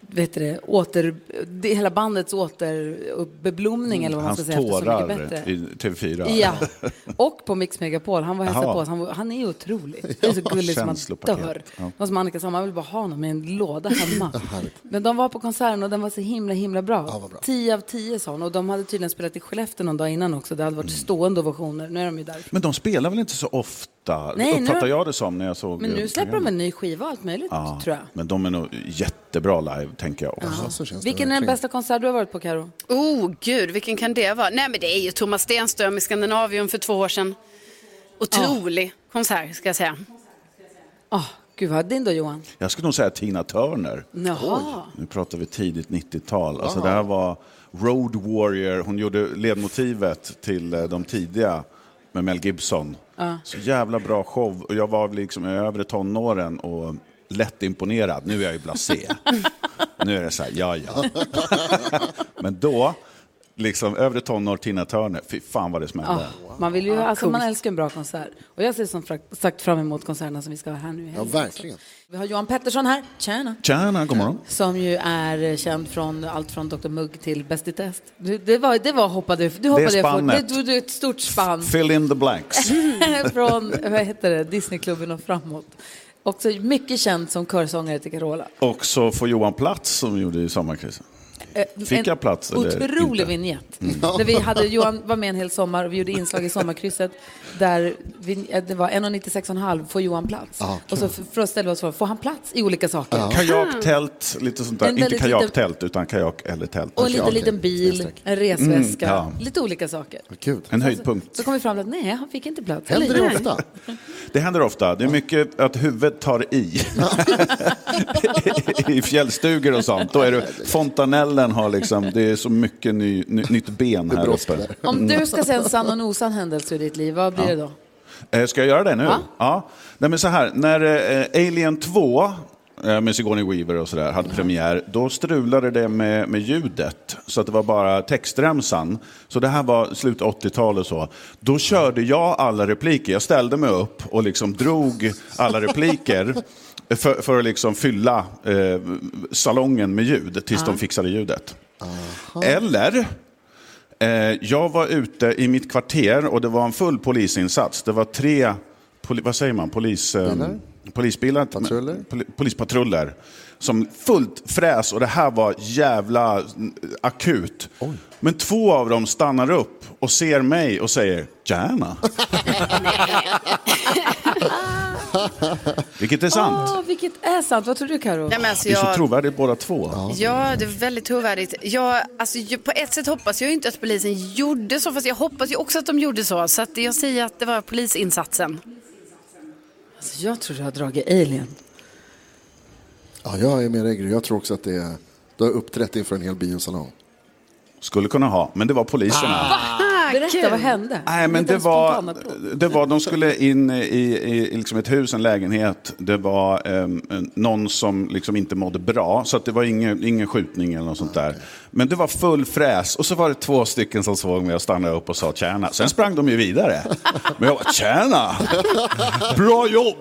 vet du det, åter, det, hela bandets återbeblomning eller vad man
Mm,
ska
Hans
säga. efter Så
tårar
mycket bättre.
i TV4.
Ja, och på Mix Megapol. Han var och hälsade
Jaha.
på oss. Han, var- han är ju otrolig. Han är så
Ja,
gullig som man
känslopaket.
dör.
Ja.
Det var som Annika sa, man vill bara ha honom i en låda hemma. Men de var på konserten och den var så himla, himla bra. Tio av tio sa hon. Och de hade tydligen spelat i Skellefteå någon dag innan också. Det hade varit
Mm.
stående ovationer. Nu är de ju där.
Men de spelar väl inte så ofta?
Nej, nu-
Uppfattar jag det som när jag såg
Men nu släpper de
programmet.
en ny skiva och allt möjligt,
Ja,
tror jag.
Men de är nog jättebra live, tänker jag också.
Vilken är den bästa konsert du har varit på, Karo?
Oh gud, vilken kan det vara? Nej men det är ju Thomas Stenström i Skandinavium för två år sedan. Otrolig konsert ska jag säga.
Gud, vad din då, Johan?
Jag skulle nog säga Tina Turner.
Jaha.
Nu pratar vi tidigt 90-tal. Alltså, det här var Road Warrior. Hon gjorde ledmotivet till eh, de tidiga med Mel Gibson.
Ja.
Så jävla bra show. Och jag var liksom i övre tonåren och lätt imponerad. Nu är jag ju blasé. nu är det så här, ja ja. Men då liksom, övre tonår, Tina Turner. Fy fan vad det smällde.
Ja, man, vill ju,
Ja,
alltså, man
coolt.
älskar en bra konsert. Och jag ser som frakt- sagt fram emot konserterna som vi ska ha här nu i helgen.
verkligen.
Vi har Johan Pettersson här, tjena.
Tjena, god morgon.
Som ju är eh, känd från allt från Dr. Mugg till Bäst i test. Du, det, var, det var hoppade, du hoppade
spannet.
Det, du, du, ett stort spann.
Fill in the blanks.
från vad heter det, Disneyklubben och framåt. Också mycket känd som körsångare till Carola.
Och så får Johan plats som vi gjorde i sommarkrisen.
Eh,
Fick jag plats eller
Otrolig
inte?
vignett.
Mm.
Där vi hade, Johan var med en hel sommar och vi gjorde inslag i sommarkrysset där vi, eh, det var 1,96,5 får Johan plats.
Ja,
och så f- för att ställa oss frågan, får han plats i olika saker?
Kajaktält, lite typ- sånt där.
En
Inte
väldigt liten-
kajaktält, utan kajak eller tält.
Och en liten,
Okej.
liten bil, en resväska,
Mm, ja.
lite olika saker.
En höjdpunkt.
Så kom vi fram till att nej, han fick inte plats.
Händer det
Nej.
ofta?
Det händer ofta. Det är mycket att huvudet tar i. I fjällstugor och sånt. Då är det, fontanellen har liksom, det är så mycket ny, ny, nytt ben här uppe.
Om
Mm.
du ska säga en sann och en osann händelse ur ditt liv, vad blir
Ja.
det då?
Eh, Ska jag göra det nu?
Ja.
Nej, men så här, när eh, Alien 2 eh, med Sigourney Weaver och sådär hade premiär, då strulade det med, med ljudet. Så att det var bara textremsan. Så det här var slut 80-tal och så. Då körde jag alla repliker. Jag ställde mig upp och liksom drog alla repliker. För, för att liksom fylla eh, salongen med ljud tills
Ja.
de fixade ljudet. Eller, eh, jag var ute i mitt kvarter och det var en full polisinsats. Det var tre, poli, vad säger man, polis, eh,
Bilar?
polisbilar? Patruller? Poli, polispatruller. Som fullt fräs och det här var jävla mm, akut. Men två av dem stannar upp och ser mig och säger gärna. Vilket är sant.
Åh, vilket är sant. Vad tror du Karo?
Nej, men alltså
Det är så
jag,
trovärdigt båda två.
Ja, det är väldigt trovärdigt. Jag, alltså, ju- på ett sätt hoppas jag ju inte att polisen gjorde så, fast jag hoppas ju också att de gjorde så. Så att jag säger att det var polisinsatsen.
Alltså, jag tror jag har dragit Alien.
Ja, jag är med dig Gry. Jag tror också att det är... Du har uppträtt inför en hel biosalong.
Skulle kunna ha, men det var poliserna.
Ah,
Berätta, vad hände?
Nej, men det var, det var, de skulle in i, i, i liksom ett hus, en lägenhet. Det var ehm, en- någon som liksom inte mådde bra, så att det var ingen, ingen skjutning eller något sånt där. Men det var full fräs och så var det två stycken som såg mig och stannade upp och sa tjäna. Sen sprang de ju vidare. Men jag var tjäna, bra jobb,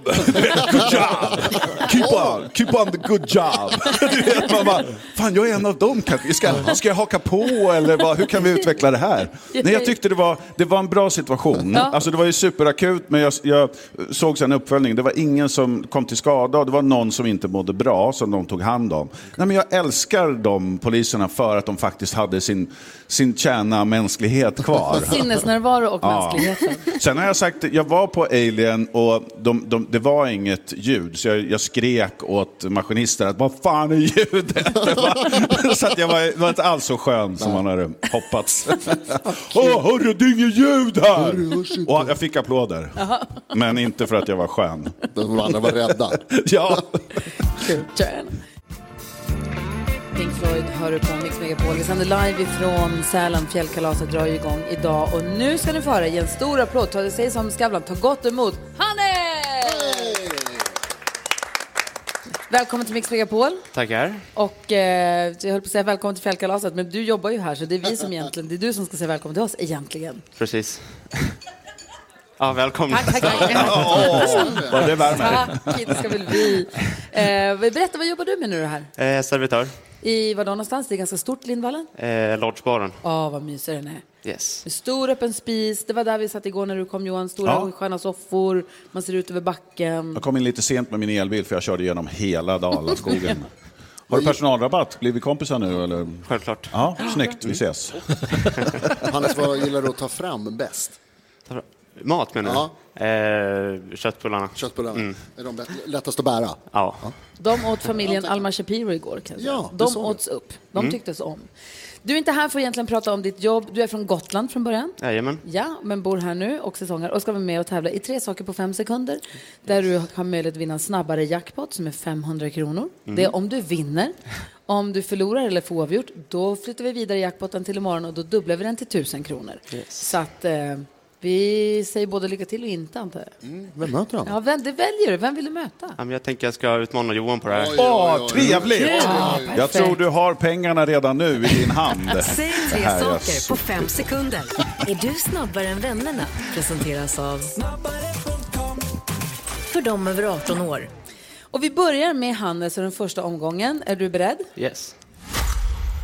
good job, keep on, keep on the good job. Du vet, Man bara, fan jag är en av dem kanske, ska, ska jag haka på eller vad, hur kan vi utveckla det här? Nej, jag tyckte det var, det var en bra situation.
Ja.
Alltså, det var ju superakut, men jag, jag såg sen uppföljningen. Det var ingen som kom till skada och det var någon som inte mådde bra som de tog hand om. Nej, men jag älskar de poliserna för att de faktiskt hade sin, sin kärna mänsklighet kvar.
Sinnesnärvaro och
Ja.
mänskligheten.
Sen har jag sagt, jag var på Alien och de, de, det var inget ljud, så jag, jag skrek åt maskinisten att vad fan är ljudet? Det var, så att jag var, var inte alls så skön som man hade hoppats. Åh, hörru, det är inget ljud här! Och jag fick applåder,
Jaha.
men inte för att jag var skön.
De andra var rädda.
ja.
Kul. Tjena. Pink Floyd hör du på Mix Megapol. Vi sänder live ifrån Sälen. Fjällkalaset drar ju igång idag. Och nu ska ni få höra, ge en stor applåd. Ta det sig som Skavlan, ta gott emot Hannes! Välkommen till Mix Megapol.
Tackar.
Och eh, jag höll på att säga välkommen till Fjällkalaset, men du jobbar ju här så det är vi som egentligen, det är du som ska säga välkommen till oss egentligen.
Precis. Ja, välkomna.
Tack, tack, tack.
Åh, vad det värmer.
Tack, inte ska väl vi. Eh, berätta, vad jobbar du med nu då här?
Eh, servitör.
I var då någonstans? Det är ganska stort, Lindvallen.
Eh, Lodgebaren.
Åh, vad mysig den är.
Yes.
Med Stor öppen spis, det var där vi satt igår när du kom Johan. Stora
Ja.
sköna soffor, man ser ut över backen.
Jag kom in lite sent med min elbil för jag körde genom hela Dalaskogen. Har du personalrabatt? Blir vi kompisar nu? Eller?
Självklart.
Ja, snyggt, vi ses.
Hannes, vad gillar du att ta fram bäst?
Mat menar du? Eh, köttbullarna.
Köttbullarna.
Mm.
Är de lätt- lättast att bära?
Ja.
De åt familjen Alma Shapiro igår kan jag säga.
Ja, det
De
såg jag.
åts upp, de
Mm.
tycktes om. Du är inte här för att egentligen prata om ditt jobb, du är från Gotland från början.
Jajamän.
Ja, men bor här nu och säsonger och ska vara med och tävla i tre saker på fem sekunder. Där du har möjlighet att vinna en snabbare jackpot som är 500 kronor.
Mm.
Det är om du vinner. Om du förlorar eller får oavgjort, då flyttar vi vidare jackpotten till imorgon och då dubblar vi den till 1000 kronor. Så att eh, Vi säger både lycka till och inte, antar jag.
Vem möter han?
Ja, vem, det väljer du. Vem vill du möta?
Ja, men Jag tänker jag ska utmana Johan på det här.
Åh, trevligt!
Ja,
Jag
perfekt.
tror du har pengarna redan nu i din hand.
Säg
Det
tre
här är
saker på
så-
fem sekunder. Är du snabbare än vännerna? Presenteras av... För dem över 18 år.
Och vi börjar med Hannes och den första omgången. Är du beredd?
Yes.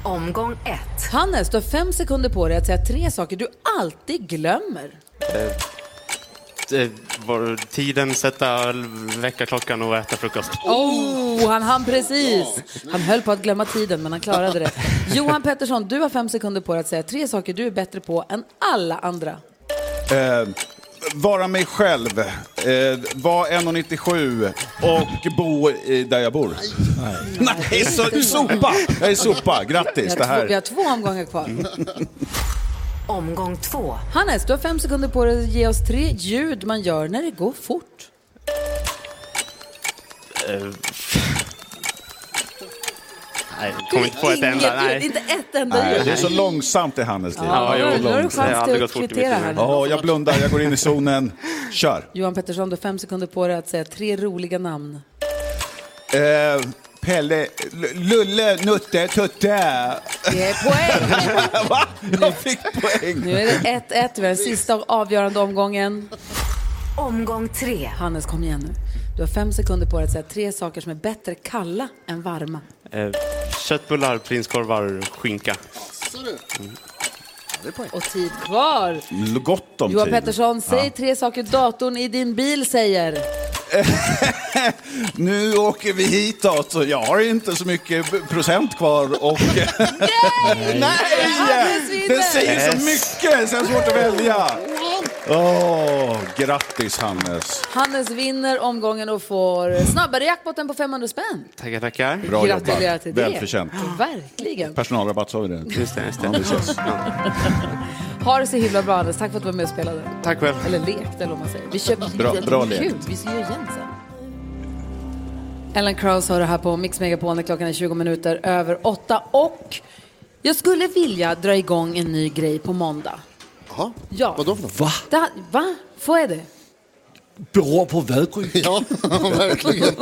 Omgång ett. Hannes, du har fem sekunder på dig att säga tre saker du alltid glömmer.
Eh, det Eh, var tiden, sätta väckarklockan och äta frukost.
Oh, han hann precis. Han höll på att glömma tiden, men han klarade det. Johan Pettersson, du har fem sekunder på dig att säga tre saker du är bättre på än alla andra.
Eh, vara mig själv, eh, vara 1,97 och bo i där jag bor. Nej, Nej så, sopa! Jag är sopa, grattis.
Vi
Det
har två- Vi har
här. Mm.
två omgångar kvar.
Omgång två.
Hannes, du har fem sekunder på dig att ge oss tre ljud man gör när det går fort.
Eh, Nej, jag kom inte på ett enda.
ljud,
Nej.
inte ett enda
Nej,
ljud.
det är så långsamt i Hannes liv.
Ja, Ja, jo, då har du långsamt. chans
Det har aldrig
till
gått
att
fort i mitt
kvittera
liv.
här nu.
Ja, jag blundar, jag går in i zonen. Kör.
Johan Pettersson, du har fem sekunder på dig att säga tre roliga namn.
Eh, Pelle, L- Lulle, Nutte, Tutte.
Det är poäng!
Va? Jag fick poäng.
Nu är det 1-1, vi har den sista och avgörande omgången. Omgång tre. Hannes, kom igen nu. Du har fem sekunder på dig att säga tre saker som är bättre kalla än varma.
Eh, Köttbullar, prinskorvar, skinka.
Och tid kvar.
L- Gott om
Johan
tid.
Pettersson, säg
Ja.
tre saker datorn i din bil säger.
Nu åker vi hitåt och jag har inte så mycket procent kvar och... Nej! Det säger så mycket, så det är svårt att välja.
Mm.
Åh, grattis Hannes.
Hannes vinner omgången och får snabbare jackpotten på 500 spänn.
Tackar, tackar.
Bra
Gratulerar
jobbat.
till det.
Välförtjänt.
Verkligen.
Personalrabatt sa vi det.
Just det, just
Ja, vi ses.
Ha det så himla bra Anders. Tack för att du var med och spelade.
Tack själv.
Eller lekte eller vad man säger. Vi köper
Bra- bra lekt.
Kul, vi ser ju igen sen. Ellen Kraus har det här på Mix Megapol när klockan är 20 minuter över 8 och jag skulle vilja dra igång en ny grej på måndag.
Jaha,
ja.
vadå för något?
Va?
Det här, va? Vad är det?
Beror på Vadgry?
Ja, verkligen.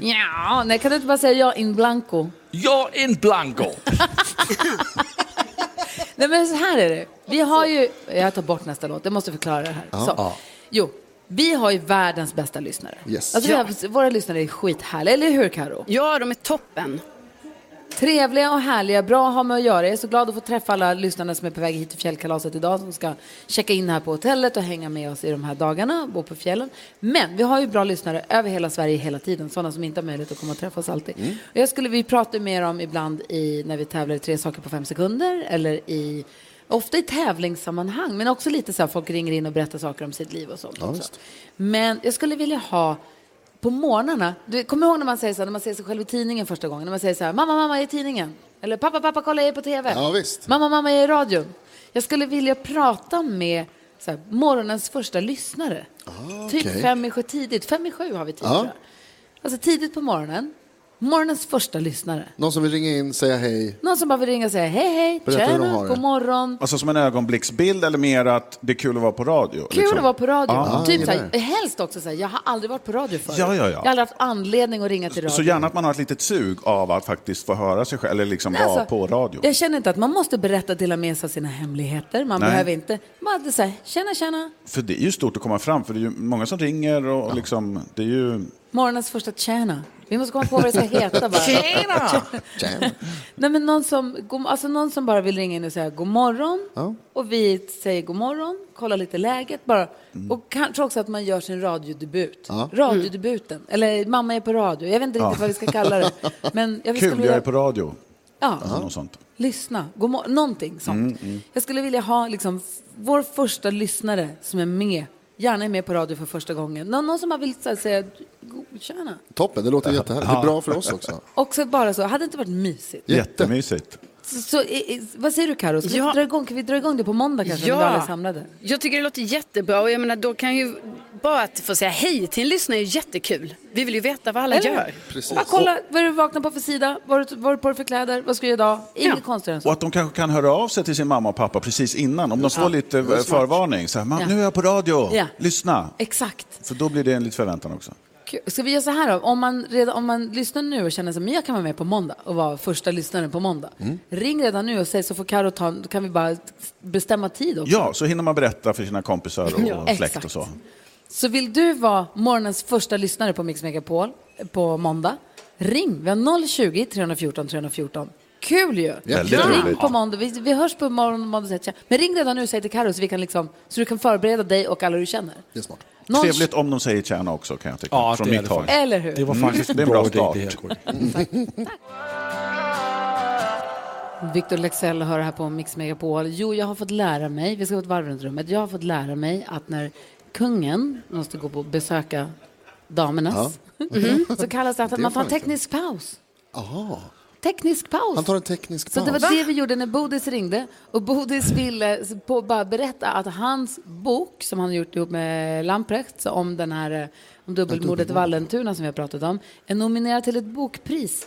Ja, nej, kan du inte bara säga ja in blanco?
Jag en blanco.
Nej men så här är det. Vi har ju, jag tar bort nästa låt, jag måste förklara det här.
Ja.
Så.
Ja.
Jo, vi har ju världens bästa lyssnare.
Yes.
Alltså, vi
Ja.
har, våra lyssnare är skithärliga, eller hur Karo?
Ja, de är toppen.
Trevliga och härliga, bra att ha med att göra. Jag är så glad att få träffa alla lyssnare som är på väg hit till fjällkalaset idag, som ska checka in här på hotellet och hänga med oss i de här dagarna, bo på fjällen. Men vi har ju bra lyssnare över hela Sverige hela tiden, sådana som inte har möjlighet att komma och träffa oss alltid.
Mm.
Och jag skulle, vi pratar med dem ibland i, när vi tävlar i tre saker på fem sekunder eller i Ofta i tävlingssammanhang, men också lite så här folk ringer in och berättar saker om sitt liv och sånt.
Ja,
också.
visst.
Men jag skulle vilja ha på morgnarna, du kommer ihåg när man säger så här, när man ser sig själv i tidningen första gången, när man säger så här, mamma, mamma, jag är i tidningen. Eller pappa, pappa, kolla, jag är på tv.
Ja, visst.
Mamma, mamma, jag är i radion. Jag skulle vilja prata med så här, morgonens första lyssnare. Typ
Ah,
okej.
fem i sju tidigt, fem i sju har vi tid
Ja.
tror jag. Alltså tidigt på morgonen, morgonens första lyssnare.
Någon som vill ringa in, säga hej.
Någon som bara vill ringa och säga hej, hej,
Berätta hur de har det.
god morgon.
Alltså som en ögonblicksbild eller mer att det är kul att vara på radio?
Kul
liksom?
att vara på radio.
Ja,
typ
jag
så
gillar
här,
det.
helst också så här, jag har aldrig varit på radio förut.
Ja, ja, ja.
Jag har aldrig haft anledning att ringa till radio.
Så gärna att man har ett litet sug av att faktiskt få höra sig själv, eller liksom
Nej,
vara
alltså,
på radio.
Jag känner inte att man måste berätta dela med sig av sina hemligheter. Man
Nej.
behöver inte, bara det så här, tjena, tjena.
För det är ju stort att komma fram, för det är ju många som ringer och och liksom, det är ju...
Morgonens första tjena. Vi måste komma på vad det ska heta bara.
Tjena!
Tjena.
Nej, men någon, som, god- alltså någon som bara vill ringa in och säga god morgon.
Ja.
Och vi säger god morgon, kollar lite läget bara.
Mm.
Och kanske också att man gör sin radiodebut. Mm.
Ja.
Radiodebuten. Eller mamma är på radio. Jag vet inte
Ja.
riktigt vad vi ska kalla det. Men jag skulle
Kul, jag
vilja-
är på radio.
Ja.
Eller något sånt.
Lyssna, god mor- någonting sånt.
Mm, mm.
Jag skulle vilja ha liksom, vår första lyssnare som är med, gärna är med på radio för första gången. Någon, någon som har vill så här, säga "God- tjena.
Toppen, det låter jättehärligt. Det är bra för oss också.
Också bara så, hade det inte varit mysigt?
Jättemysigt.
Så, så, i, i, vad säger du Karo? Ska
Ja.
vi dra igång, kan vi dra igång det på måndag kanske?
Ja.
När vi alla är samlade?
Jag tycker det låter jättebra och jag menar då kan ju bara att få säga hej till en lyssnare är ju jättekul. Vi vill ju veta vad alla
Eller
gör.
hur?
Precis.
Bara kolla vad du vaknar på för sida, vad du, vad du på dig för kläder, vad ska du göra idag? Inget konstigt än så.
Och att de kanske kan höra av sig till sin mamma och pappa precis innan. Om de får
Ja.
lite eh,
Det är smart.
förvarning. Så här, "Mamma,
Ja.
Nu är jag på radio,
Ja.
lyssna.
Exakt.
För då blir det en liten förväntan också.
Kul. Ska vi göra så här då? Om man, redan, om man lyssnar nu och känner att jag kan vara med på måndag och vara första lyssnaren på måndag.
Mm.
Ring redan nu och säg så får Karo ta, då kan vi bara bestämma tid också.
Ja, så hinner man berätta för sina kompisar och,
Ja,
och släkt
exakt.
och så.
Så vill du vara morgonens första lyssnare på Mix Megapol eh, på måndag, ring. Vi har 020-314 314. Kul ju!
Väldigt
ring
roligt.
på måndag. Vi, vi hörs på morgon, måndag. så att jag- Men ring redan nu och säg till Karo så, vi kan liksom, så du kan förbereda dig och alla du känner.
Det är smart.
Någon-
Trevligt om de säger tjäna också kan jag tycka.
Ja,
Från
det är
mitt
det
håll.
faktiskt. Eller hur?
Det var
Mm.
faktiskt en
det är en bra
bra idé,
start.
det här, Gry.
Victor Lexell hör här på Mix Megapol. Jo, jag har fått lära mig, vi ska gå ett varv runt rummet, jag har fått lära mig att när kungen måste gå på besöka damernas, Mhm. så kallas det att
Det är
man tar
fan
en teknisk paus.
Aha.
Teknisk paus.
Han tar en teknisk
Så
paus.
det var det vi gjorde när Bodis ringde. Och Bodis ville på, bara berätta att hans bok som han gjort ihop med Lamprecht så om den här eh, om dubbelmordet i Vallentuna som vi har pratat om är nominerad till ett bokpris.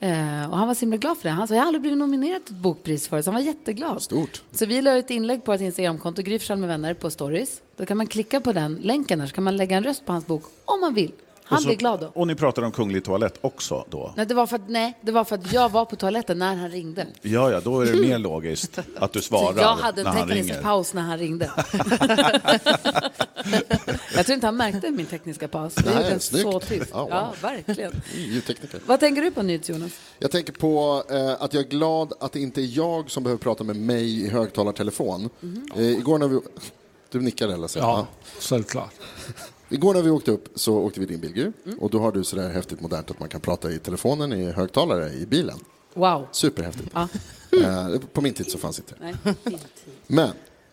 Eh, och han var så himla glad för det. Han sa jag har aldrig blivit nominerad till ett bokpris förut. Så han var jätteglad.
Stort.
Så vi la ett inlägg på vårt Instagramkonto, Gry Forssell med vänner, på stories. Då kan man klicka på den länken där så kan man lägga en röst på hans bok om man vill. Han
Och så-
blir glad då.
Och ni pratar om kunglig toalett också då?
Nej det, var för att, nej, det var för att jag var på toaletten när han ringde.
Ja, ja, då är det mer logiskt att du svarar
Så Typ, jag hade
när
en
han
teknisk
ringer.
paus när han ringde. jag tror inte han märkte min tekniska paus. Det
Nej,
gjorde den
snyggt.
så tyst.
Ja, wow.
Ja, verkligen.
Ljudtekniker.
Vad tänker du på nytt, Jonas?
Mm, Jag tänker på eh, att jag är glad att det inte är jag som behöver prata med mig i högtalartelefon.
Mhm.
Eh, igår när vi... Du nickar eller så?
Ja, självklart.
Igår när vi åkte upp så åkte vi din bil, Gry. Och då har du sådär häftigt modernt att man kan prata i telefonen i högtalare i bilen.
Wow.
Superhäftigt.
Ja.
Eh, på min tid så fanns inte det.
Nej.
Men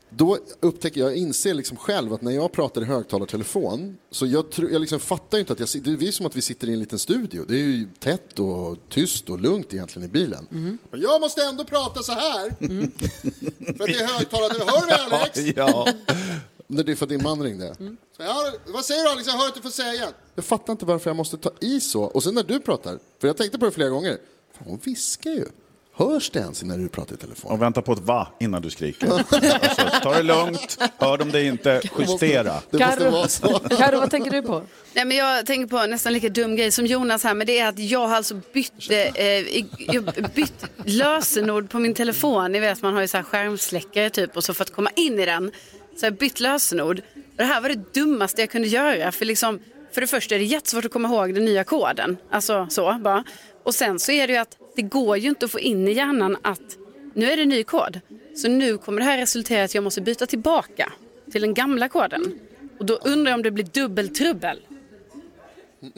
då upptäcker jag, jag inser liksom själv att när jag pratar i högtalartelefon så jag, tro, jag liksom fattar ju inte att jag sitter, det är som att vi sitter i en liten studio. Det är ju tätt och tyst och lugnt egentligen i bilen.
Mm.
Men Jag måste ändå prata så här. För att det är högtalare. Hör du mig Alex?
Ja.
När det är för att din man ringde. Så jag hör- vad säger du Alex? Jag hör att du får säga. Jag fattar inte varför jag måste ta i så. Och sen när du pratar, för jag tänkte på det flera gånger. Fan, hon viskar ju. Hörs det ens när du pratar i telefon?
Och vänta på ett va innan du skriker. alltså, ta det lugnt, hör de dig inte, justera.
Karo, vad tänker du på?
Nej, men jag tänker på nästan lika dum grej som Jonas här, men det är att jag har alltså bytt, eh, i- jag bytt lösenord på min telefon. Ni vet, man har ju så här skärmsläckare typ och så för att komma in i den så har jag bytt lösenord. Och det här var det dummaste jag kunde göra, för liksom, för det första är det jättesvårt att komma ihåg den nya koden. Alltså så bara. Och sen så är det ju att det går ju inte att få in i hjärnan att nu är det ny kod. Så nu kommer det här resultera i att jag måste byta tillbaka till den gamla koden. Och då undrar jag om det blir dubbeltrubbel.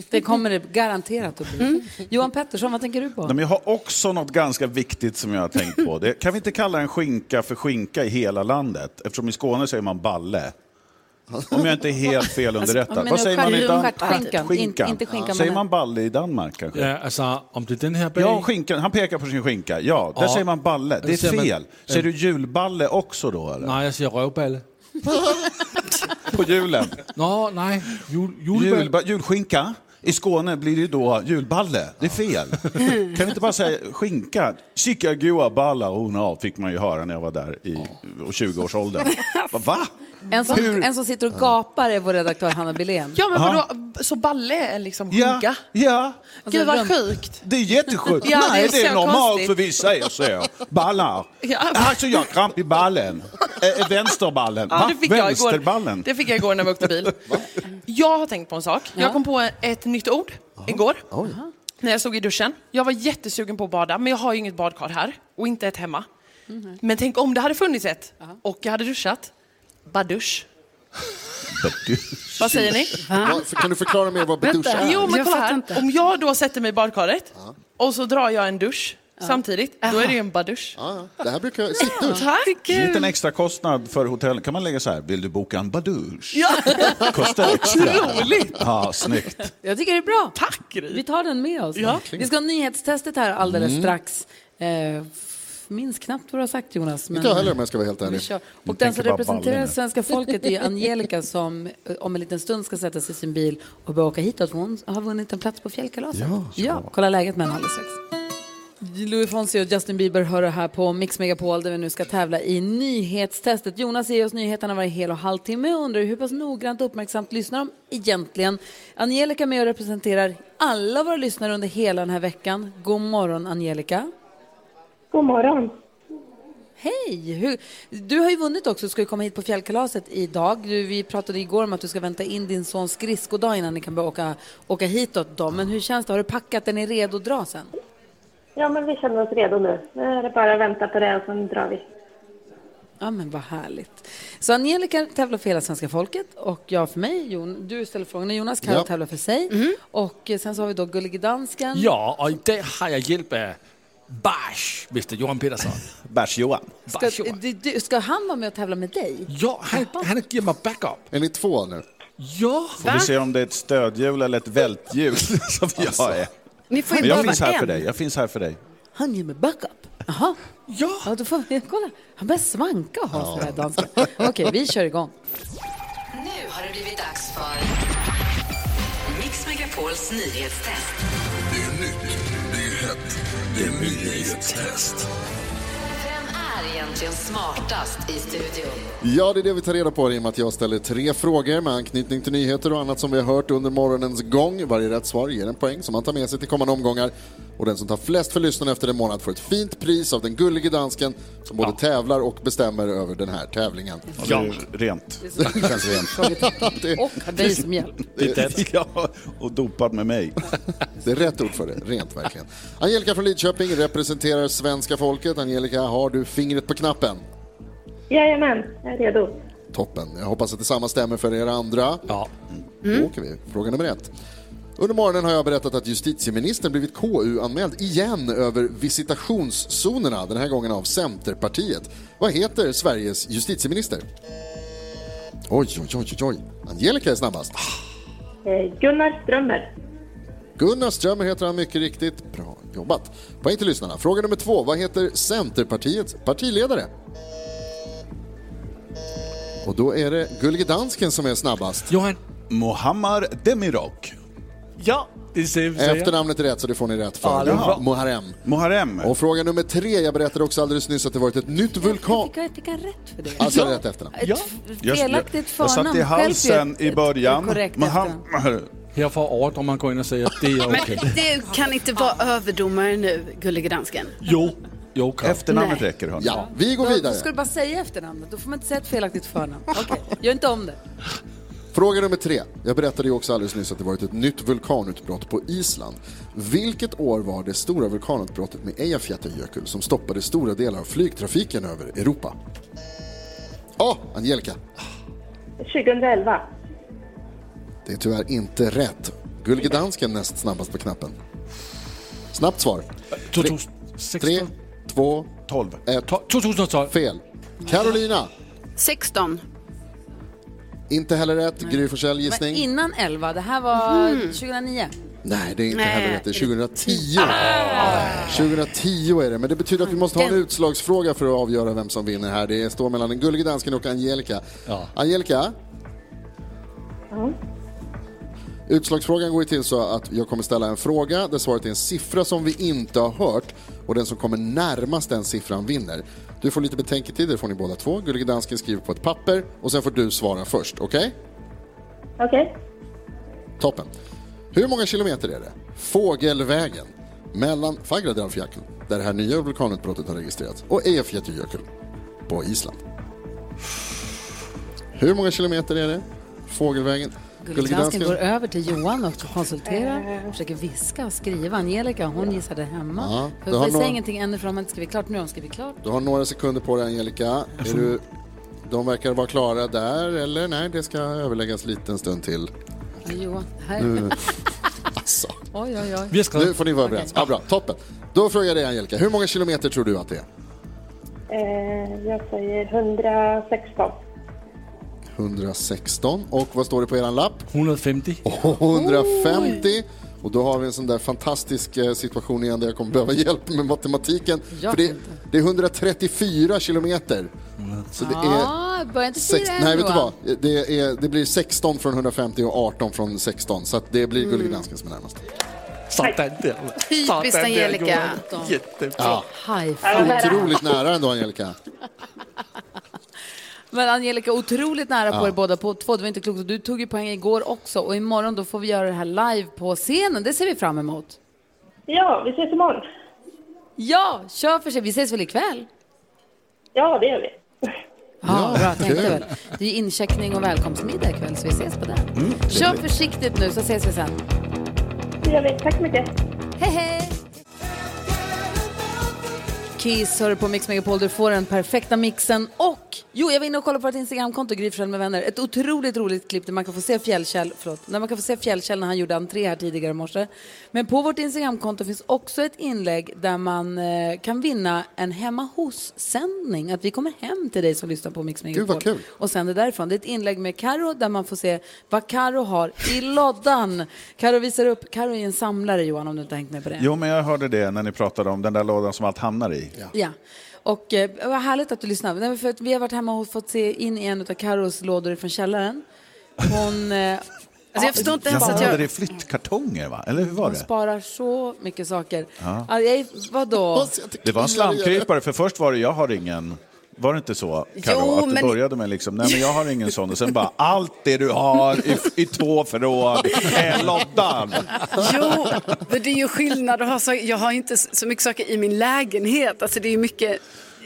Det kommer det garanterat att
Mm.
bli. Johan Pettersson, vad tänker du på?
Nej, men jag har också något ganska viktigt som jag har tänkt på. Det, kan vi inte kalla en skinka för skinka i hela landet? Eftersom i Skåne säger man balle. Om jag inte är helt fel underrättad.
Alltså, men
Vad säger man i
stjärt-
Dan-
stjärtskinkan. In- inte skinkan, men-
Säger man balle i Danmark kanske?
Ja, alltså, om det är den här bag...
Ja, skinkan. Han pekar på sin skinka. Ja, där
Ja.
säger man balle. Det är
Där säger man-
fel. Säger du julballe också då eller?
Nej, jag säger rövballe.
På julen?
Nå, nej. Jul, julballe.
Julba, julskinka? I Skåne blir det ju då julballe. Det är fel. kan vi inte bara säga skinka? Chickagua balla hona fick man ju höra när jag var där i 20-årsåldern. Va? Va?
En som,
Hur-
en som sitter och gapar är vår redaktör Hanna Billén.
Ja, men
Aha.
vadå, så balle är liksom
Ja,
skinka?
ja.
Gud vad
Alltså, runt-
sjukt.
Det är jättesjukt.
Ja, det är
Nej, det är,
så
normalt
konstigt.
för vissa, jag säger. Ballar.
Ja.
Alltså, jag har kramp i ballen. Ä- ä, vänsterballen.
Ja,
Va?
det, fick jag igår.
Vänsterballen?
det fick jag igår när vi åkte bil. Jag har tänkt på en sak. Jag kom på ett nytt ord igår. När jag stod i duschen. Jag var jättesugen på att bada, men jag har ju inget badkar här och inte ett hemma.
Mhm.
Men tänk om det hade funnits ett och jag hade duschat. Badusch. Vad säger ni?
Ja, för- kan du förklara mer vad
Vänta.
beduscha är?
Jo, men
Jag
kolla
fattar
här.
inte.
Om jag då sätter mig i badkaret och så drar jag en dusch samtidigt, då är det ju en badusch.
Ja, ja. Det här brukar jag... Sitt du.
Tack!
En liten extra kostnad för hotell. Kan man lägga så här, vill du boka en badusch?
Ja.
Kostar extra.
Otroligt.
Ja, snyggt.
Jag tycker det är bra.
Tack, Gry.
Vi tar den med oss.
Ja.
Vi ska ha nyhetstestet här alldeles strax. Eh, f- minns knappt vad du har sagt Jonas.
Inte jag heller om jag ska vara helt
Vi
ärlig.
kör. Och den som representerar svenska folket är Angelica som eh, om en liten stund ska sätta sig i sin bil och börja åka hitåt. för Hon har vunnit en plats på fjällkalaset.
Ja,
kolla läget med henne alldeles strax. Louis Fonsi och Justin Bieber hör det här på Mix Megapol där vi nu ska tävla i nyhetstestet. Jonas ger oss nyheterna varje hel och halvtimme och undrar hur pass noggrant och uppmärksamt lyssnar de egentligen. Angelica är med och representerar alla våra lyssnare under hela den här veckan. God morgon Angelica.
God morgon.
Hej! Hur, du har ju vunnit också, ska ju komma hit på fjällkalaset idag. Du, vi pratade igår om att du ska vänta in din sons skridskodag innan ni kan börja åka, åka hitåt dem. Men hur känns det? Har du packat? Den är redo att dra sen?
Ja, men vi känner oss redo nu. Nu är det bara att vänta på det och sen drar vi.
Ja, men vad härligt. Så Angelica tävlar för hela svenska folket och jag för mig. Jon, du ställer frågorna, Jonas kan
Ja.
tävla för sig. Och eh, sen så har vi då Gullige Dansken.
Ja, och idag har jag hjälp av Bash, Mr Johan Peterson.
Bärs-Johan.
Ska, du, du, ska han vara med och tävla med dig?
Ja, han, han ger mig backup.
Är ni två nu?
Ja.
Får vi se om det är ett stödhjul eller ett välthjul som
Alltså.
jag är.
Ni får ju
Men jag
bara
finns här
en.
för dig. Jag finns här för dig.
Han ger mig backup. Jaha.
Ja.
ja då får vi, kolla, han börjar svanka och ha ja. dansken. Okej, vi kör igång.
Nu har det blivit dags för Mix Megapols nyhetstest.
Det är nytt, det är hett, det är nyhetstest.
Vem är egentligen smartast i studion?
Ja, det är det vi tar reda på i och med att jag ställer tre frågor med anknytning till nyheter och annat som vi har hört under morgonens gång. Varje rätt svar ger en poäng som man tar med sig till kommande omgångar. Och den som tar flest för lyssnarna efter en månad får ett fint pris av den gullige dansken som både tävlar och bestämmer över den här tävlingen.
Ja. det är Rent. Det känns rent.
Frågetecken. Och har dig som hjälp.
Ja, och dopad med mig.
Det är rätt ord för det, rent verkligen. Angelica från Lidköping representerar svenska folket. Angelica, har du fingret på knappen?
Jajamän, jag är redo.
Toppen. Jag hoppas att detsamma stämmer för er andra. Mm.
Ja.
Då åker vi. Fråga nummer ett. Under morgonen har jag berättat att justitieministern blivit KU-anmäld igen över visitationszonerna, den här gången av Centerpartiet. Vad heter Sveriges justitieminister? Oj, oj, oj, oj, oj. Angelica är snabbast.
Eh, Gunnar Strömmer.
Gunnar Strömmer heter han mycket riktigt. Bra jobbat. Poäng till lyssnarna. Fråga nummer två. Vad heter Centerpartiets partiledare? Och då är det Gullige Dansken som är snabbast.
Johan.
Mohammar Demirok.
Ja, det ser vi.
Efternamnet är rätt så det får ni rätt för.
Ja, det är bra.
Muharrem.
Muharrem.
Och fråga nummer tre. Jag berättade också alldeles nyss att det varit ett nytt vulkan...
Fick jag, fick jag rätt för det?
Alltså rätt efternamn.
Ett
Jag-
felaktigt
Jag
förnamn.
satt i halsen i början.
Korrekt efternamn.
Muhammar.
Här får ordet om man går in och säger att det är okej.
Men det kan inte vara överdomare nu, gullige dansken.
Jo, jo, Carl.
Efternamnet räcker, hörni.
Ja, vi går
Då, då ska
vidare.
du bara säga efternamnet. Då får man inte säga ett felaktigt förnamn. Okej, gör inte om det.
Fråga nummer tre. Jag berättade ju också alldeles nyss att det varit ett nytt vulkanutbrott på Island. Vilket år var det stora vulkanutbrottet med Eyjafjallajökull som stoppade stora delar av flygtrafiken över Europa? Åh, Angelica.
2011.
Det är tyvärr inte rätt. Gullige Dansken näst snabbast på knappen. Snabbt svar. 3,
2016.
2,
12.
1.
2012.
Fel. Carolina,
16.
inte heller rätt. Gry Forssell
Men
gissning.
innan 11, det här var
Mm.
2009.
Nej, det är inte
Nej.
heller rätt. Det är 2010. 2010 är det, men det betyder att vi måste ha en utslagsfråga för att avgöra vem som vinner här. Det står mellan den gullige dansken och Angelica.
Ja.
Angelica? Utslagsfrågan går ju till så att jag kommer ställa en fråga där svaret är en siffra som vi inte har hört och den som kommer närmast den siffran vinner. Du får lite betänketid, det får ni båda två. Gullige dansken skriver på ett papper och sen får du svara först, okej?
Okej.
Toppen. Hur många kilometer är det? Fågelvägen mellan Fagradalfjökull, där det här nya vulkanutbrottet har registrerats, och Eyjafjallajökull på Island. Hur många kilometer är det? Fågelvägen. Gullige
Dansken
dansken.
går över till Johan och konsulterar, försöker viska och skriva. Angelica, hon gissade hemma.
Ja,
För
det har
vi säger
några-
ingenting ännu för de har inte skrivit klart. Nu har de skrivit klart.
Du har några sekunder på dig, Angelica. Är du... De verkar vara klara där, eller? Nej, det ska överläggas lite en stund till.
Ja, Johan, här.
Alltså.
Oj, oj, oj.
Vi har
Nu
skrivit.
får ni vara överens. Ja, bra. Toppen. Då frågar jag dig, Angelica. Hur många kilometer tror du att det är?
Eh, jag säger 116.
116. Och vad står det på er lapp?
150.
150. Och då har vi en sån där fantastisk eh, situation igen där jag kommer behöva hjälp med matematiken.
Jag
För det,
kan
det är 134 kilometer. Så det är...
Ah, börja inte
Sex,
fira än,
nej, vet du
Johan.
vad? Det, är, det blir 16 från 150 och 18 från 16, så att det blir
Mm.
Gullig Dansken som är närmast.
Satan där.
Typiskt
Satan där,
Angelica.
Johan. Jättebra.
Ja.
High five.
Otroligt nära ändå, Angelica.
Men Angelica, otroligt nära på
Ja.
er båda på två. Det var inte klokt. Och Du tog ju poäng igår också och imorgon då får vi göra det här live på scenen. Det ser vi fram emot.
Ja, vi ses imorgon.
Ja, kör för sig. Vi ses väl ikväll?
Ja, det gör vi.
Ja, bra. Tänkte
kul.
väl. Det är ju incheckning och välkomstmiddag ikväll så vi ses på den.
Mm,
Kör
trevligt.
försiktigt nu så ses vi sen.
Det gör vi. Tack så mycket.
Hej, hej! Kiss hör du på Mix Megapol, du får den perfekta mixen och jo, jag var inne och kollade på vårt Instagramkonto, Gry Forssell med vänner. Ett otroligt roligt klipp där man kan få se Fjällkäll, förlåt, när man kan få se Fjällkäll när han gjorde entré här tidigare i morse. Men på vårt Instagramkonto finns också ett inlägg där man eh, kan vinna en hemma hos-sändning, att vi kommer hem till dig som lyssnar på Mix Megapol.
Gud, vad kul.
Och sänder därifrån. Det är ett inlägg med Karo där man får se vad Karo har i loddan. Karo visar upp, Karo är en samlare Johan om du inte har hängt med på det.
Jo, men jag hörde det när ni pratade om den där lådan som allt hamnar i.
Ja. Och eh, vad härligt att du lyssnar. Nej, men för att vi har varit hemma och fått se in i en av Carros lådor från källaren. Hon, eh,
Alltså, jag förstår inte
Jag
ens att
hörde det
jag...
i flyttkartonger, va? Eller hur var
hon
det?
sparar så mycket saker.
Ja.
Ja. Jag, är- vadå?
Det var en slamkrypare, för först var det jag har ingen. Var det inte så, Karo,
Jo,
att du
men-
började med liksom, nej men jag har ingen sån och sen bara allt det du har i, i två förråd är loddan.
Jo, men det är ju skillnad att ha så... Jag har inte så mycket saker i min lägenhet. Alltså det är mycket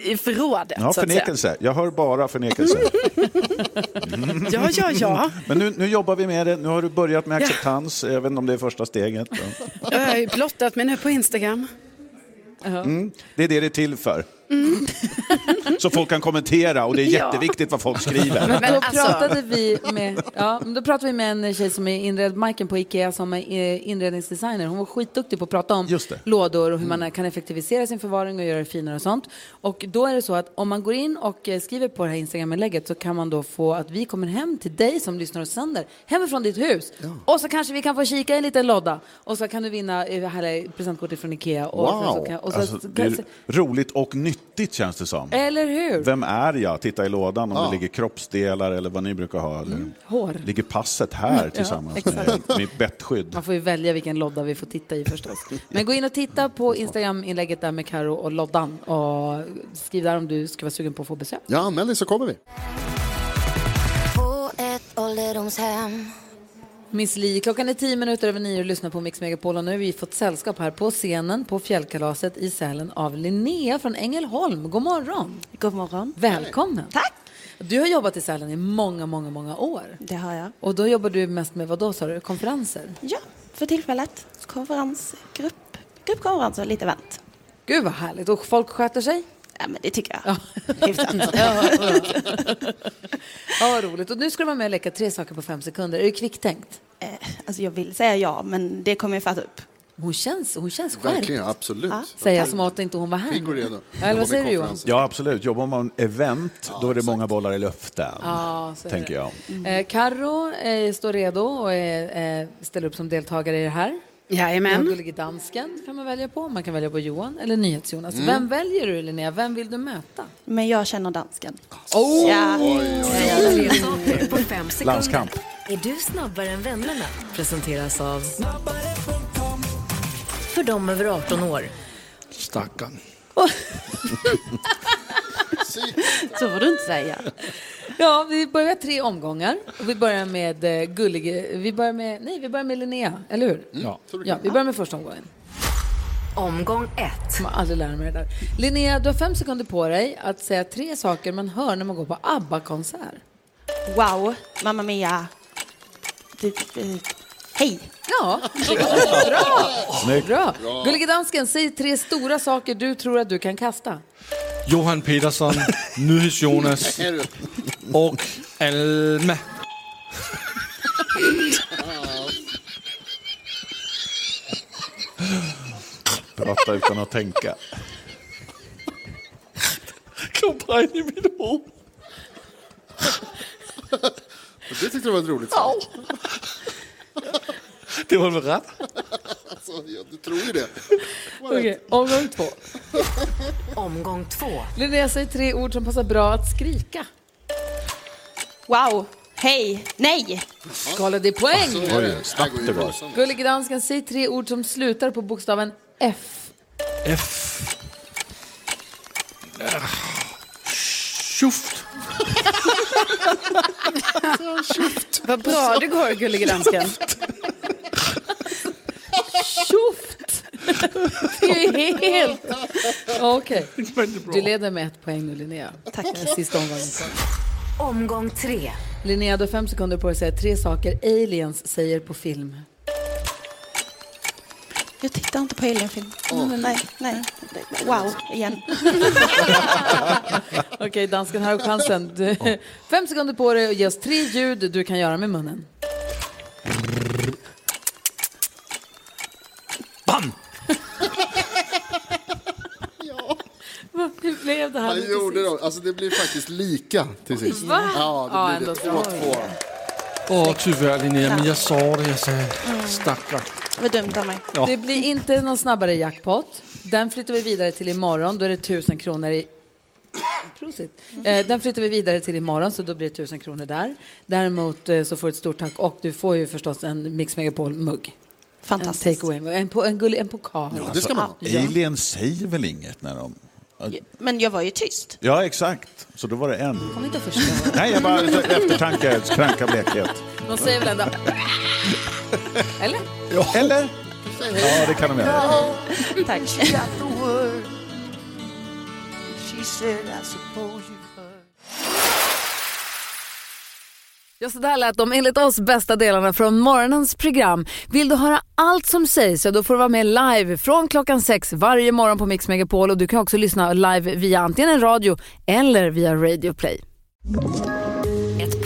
i förrådet.
Ja,
så att säga.
förnekelse. Jag hör bara förnekelse.
Ja, ja, ja.
Men nu, nu jobbar vi med det, nu har du börjat med acceptans, jag vet inte om det är första steget. men-
Jag har ju blottat mig nu på Instagram.
Mm, det är det det är till för.
Mm.
Så folk kan kommentera och det är jätteviktigt vad folk skriver.
Men då
alltså-
pratade vi med, ja, men då pratade vi med en tjej som är inred, Majken på Ikea som är eh, inredningsdesigner. Hon var skitduktig på att prata om
Just det. Mm.
lådor och hur man kan effektivisera sin förvaring och göra det finare och sånt. Och då är det så att om man går in och eh, skriver på det här Instagram-inlägget så kan man då få att vi kommer hem till dig som lyssnar och sänder, hemifrån ditt hus. Och så kanske vi kan få kika i en liten låda och så kan du vinna eh, här är presentkortet från Ikea. Och sen så
Wow.
kan, och så,
Alltså, det är roligt och nyttigt känns det som.
eller hur?
Vem är jag? Titta i lådan om
Ja.
det ligger kroppsdelar eller vad ni brukar ha. Eller...
Mm. Hår.
Ligger passet här tillsammans med mitt bettskydd?
Man får ju välja vilken lodda vi får titta i förstås. Men gå in och titta på Instagram-inlägget där med Karo och loddan och skriv där om du ska vara sugen på att få besök.
Ja, anmäl dig så kommer vi.
På ett ålderdomshem
Miss Li, klockan är tio minuter över nio och lyssnar på Mix Megapol och nu har vi fått sällskap här på scenen på Fjällkalaset i Sälen av Linnea från Ängelholm. God morgon!
God morgon.
Välkommen! Tack! Du har jobbat i Sälen i många, många, många år.
Det har jag.
Och då jobbar du mest med, vad då sa du, konferenser?
Ja, för tillfället. Konferensgrupp, gruppkonferens och lite event.
Gud vad härligt! Och folk sköter sig?
Ja, men det tycker jag. Hyfsat.
Ja, Ja, vad roligt. Och nu ska du vara med och leka tre saker på fem sekunder. Är det kvicktänkt?
Alltså, jag vill säga ja, men det kommer jag fatta upp.
Hon känns, hon känns skärpt.
Verkligen, absolut.
Ja.
Säger jag som att inte hon var här.
Pigg och redo.
Eller vad säger du Johan?
Ja, absolut. Jobbar man event, då är det många bollar i luften,
Ja, så är
tänker
det.
jag.
Eh, Carro eh, står redo och eh, eh, ställer upp som deltagare i det här.
Jajamän.
Mm.
Och Gullige dansken kan man välja på. Man kan välja på Johan eller NyhetsJonas.
Mm.
Vem väljer du Linnea? Vem vill du möta?
Men jag känner dansken.
Oh!
Ja.
Tre saker på fem sekunder.
Landskamp.
Är du snabbare än vännerna? Presenteras av... För dem över 18 år.
Stackarn.
Så får du inte säga.
Ja, vi börjar tre omgångar. Och vi börjar med eh, Gullige... Vi börjar med... Nej, vi börjar med Linnea, eller hur?
Ja.
Ja, vi börjar med första omgången.
Omgång ett.
kommer aldrig lära mig det där. Linnea, du har fem sekunder på dig att säga tre saker man hör när man går på ABBA-konsert.
Wow, Mamma Mia. Det- eh, Hej!
Ja, bra!
Snyggt.
bra. Gullige dansken, säg tre stora saker du tror att du kan kasta.
Johan Petersson, Nyhets-Jonas
Är du?
och Alma.
Prata utan att tänka.
Kom bara in i mitt huvud.
Det tyckte jag var ett roligt svar.
Det var väl rätt?
Alltså, jag, du tror ju det.
Okej, omgång två.
Omgång två.
Linnea, säg tre ord som passar bra att skrika.
Wow. Hej. Nej.
Skala, det är poäng!
Oj, snabbt det var.
Gullig dansken, säg tre ord som slutar på bokstaven F.
F. Ah, Tjoft.
Vad bra det går, gullige dansken. Tjoft! Det är ju helt... Okej. Du leder med ett poäng nu, Linnea. Tack. Sista omgången.
Omgång tre.
Linnea, du har fem sekunder på dig att säga tre saker aliens säger på film.
Jag tittar inte på alienfilm. Mm, nej, nej. Wow. Igen.
Okej, dansken, här har du chansen. Du, Fem sekunder på dig och ge oss tre ljud du kan göra med munnen.
Bam!
Vad blev det här
Han
nu till
gjorde det. Alltså, det blir faktiskt lika till sist.
Va?
Ja,
Ja,
det blir det.
ändå.
2-2.
Åh, tyvärr Linnea, men jag sa det jag sa.
Mm.
Stackare.
Vad dumt av mig.
Ja.
Det blir inte någon snabbare jackpot. Den flyttar vi vidare till imorgon. Då är det 1000 kronor i... Prosit. Eh, Den flyttar vi vidare till imorgon, så då blir det 1000 kronor där. Däremot eh, så får du ett stort tack och du får ju förstås en Mix Megapol-mugg.
Fantastiskt.
En takeaway, en, po- en, gullig, en pokal.
Ja, det ska man ha.
Ja.
Alien säger väl inget när de...
Men jag var ju tyst.
Ja, exakt. Så då var det en.
Kommer inte att förstå.
Nej, jag bara eftertanke, kranka blekhet.
De säger väl ändå... Eller?
Eller? Ja, det kan de göra.
Tack.
Ja, så där lät de enligt oss bästa delarna från morgonens program. Vill du höra allt som sägs så då får du vara med live från klockan sex varje morgon på Mix Megapol och du kan också lyssna live via antingen en radio eller via Radio Play.
Ett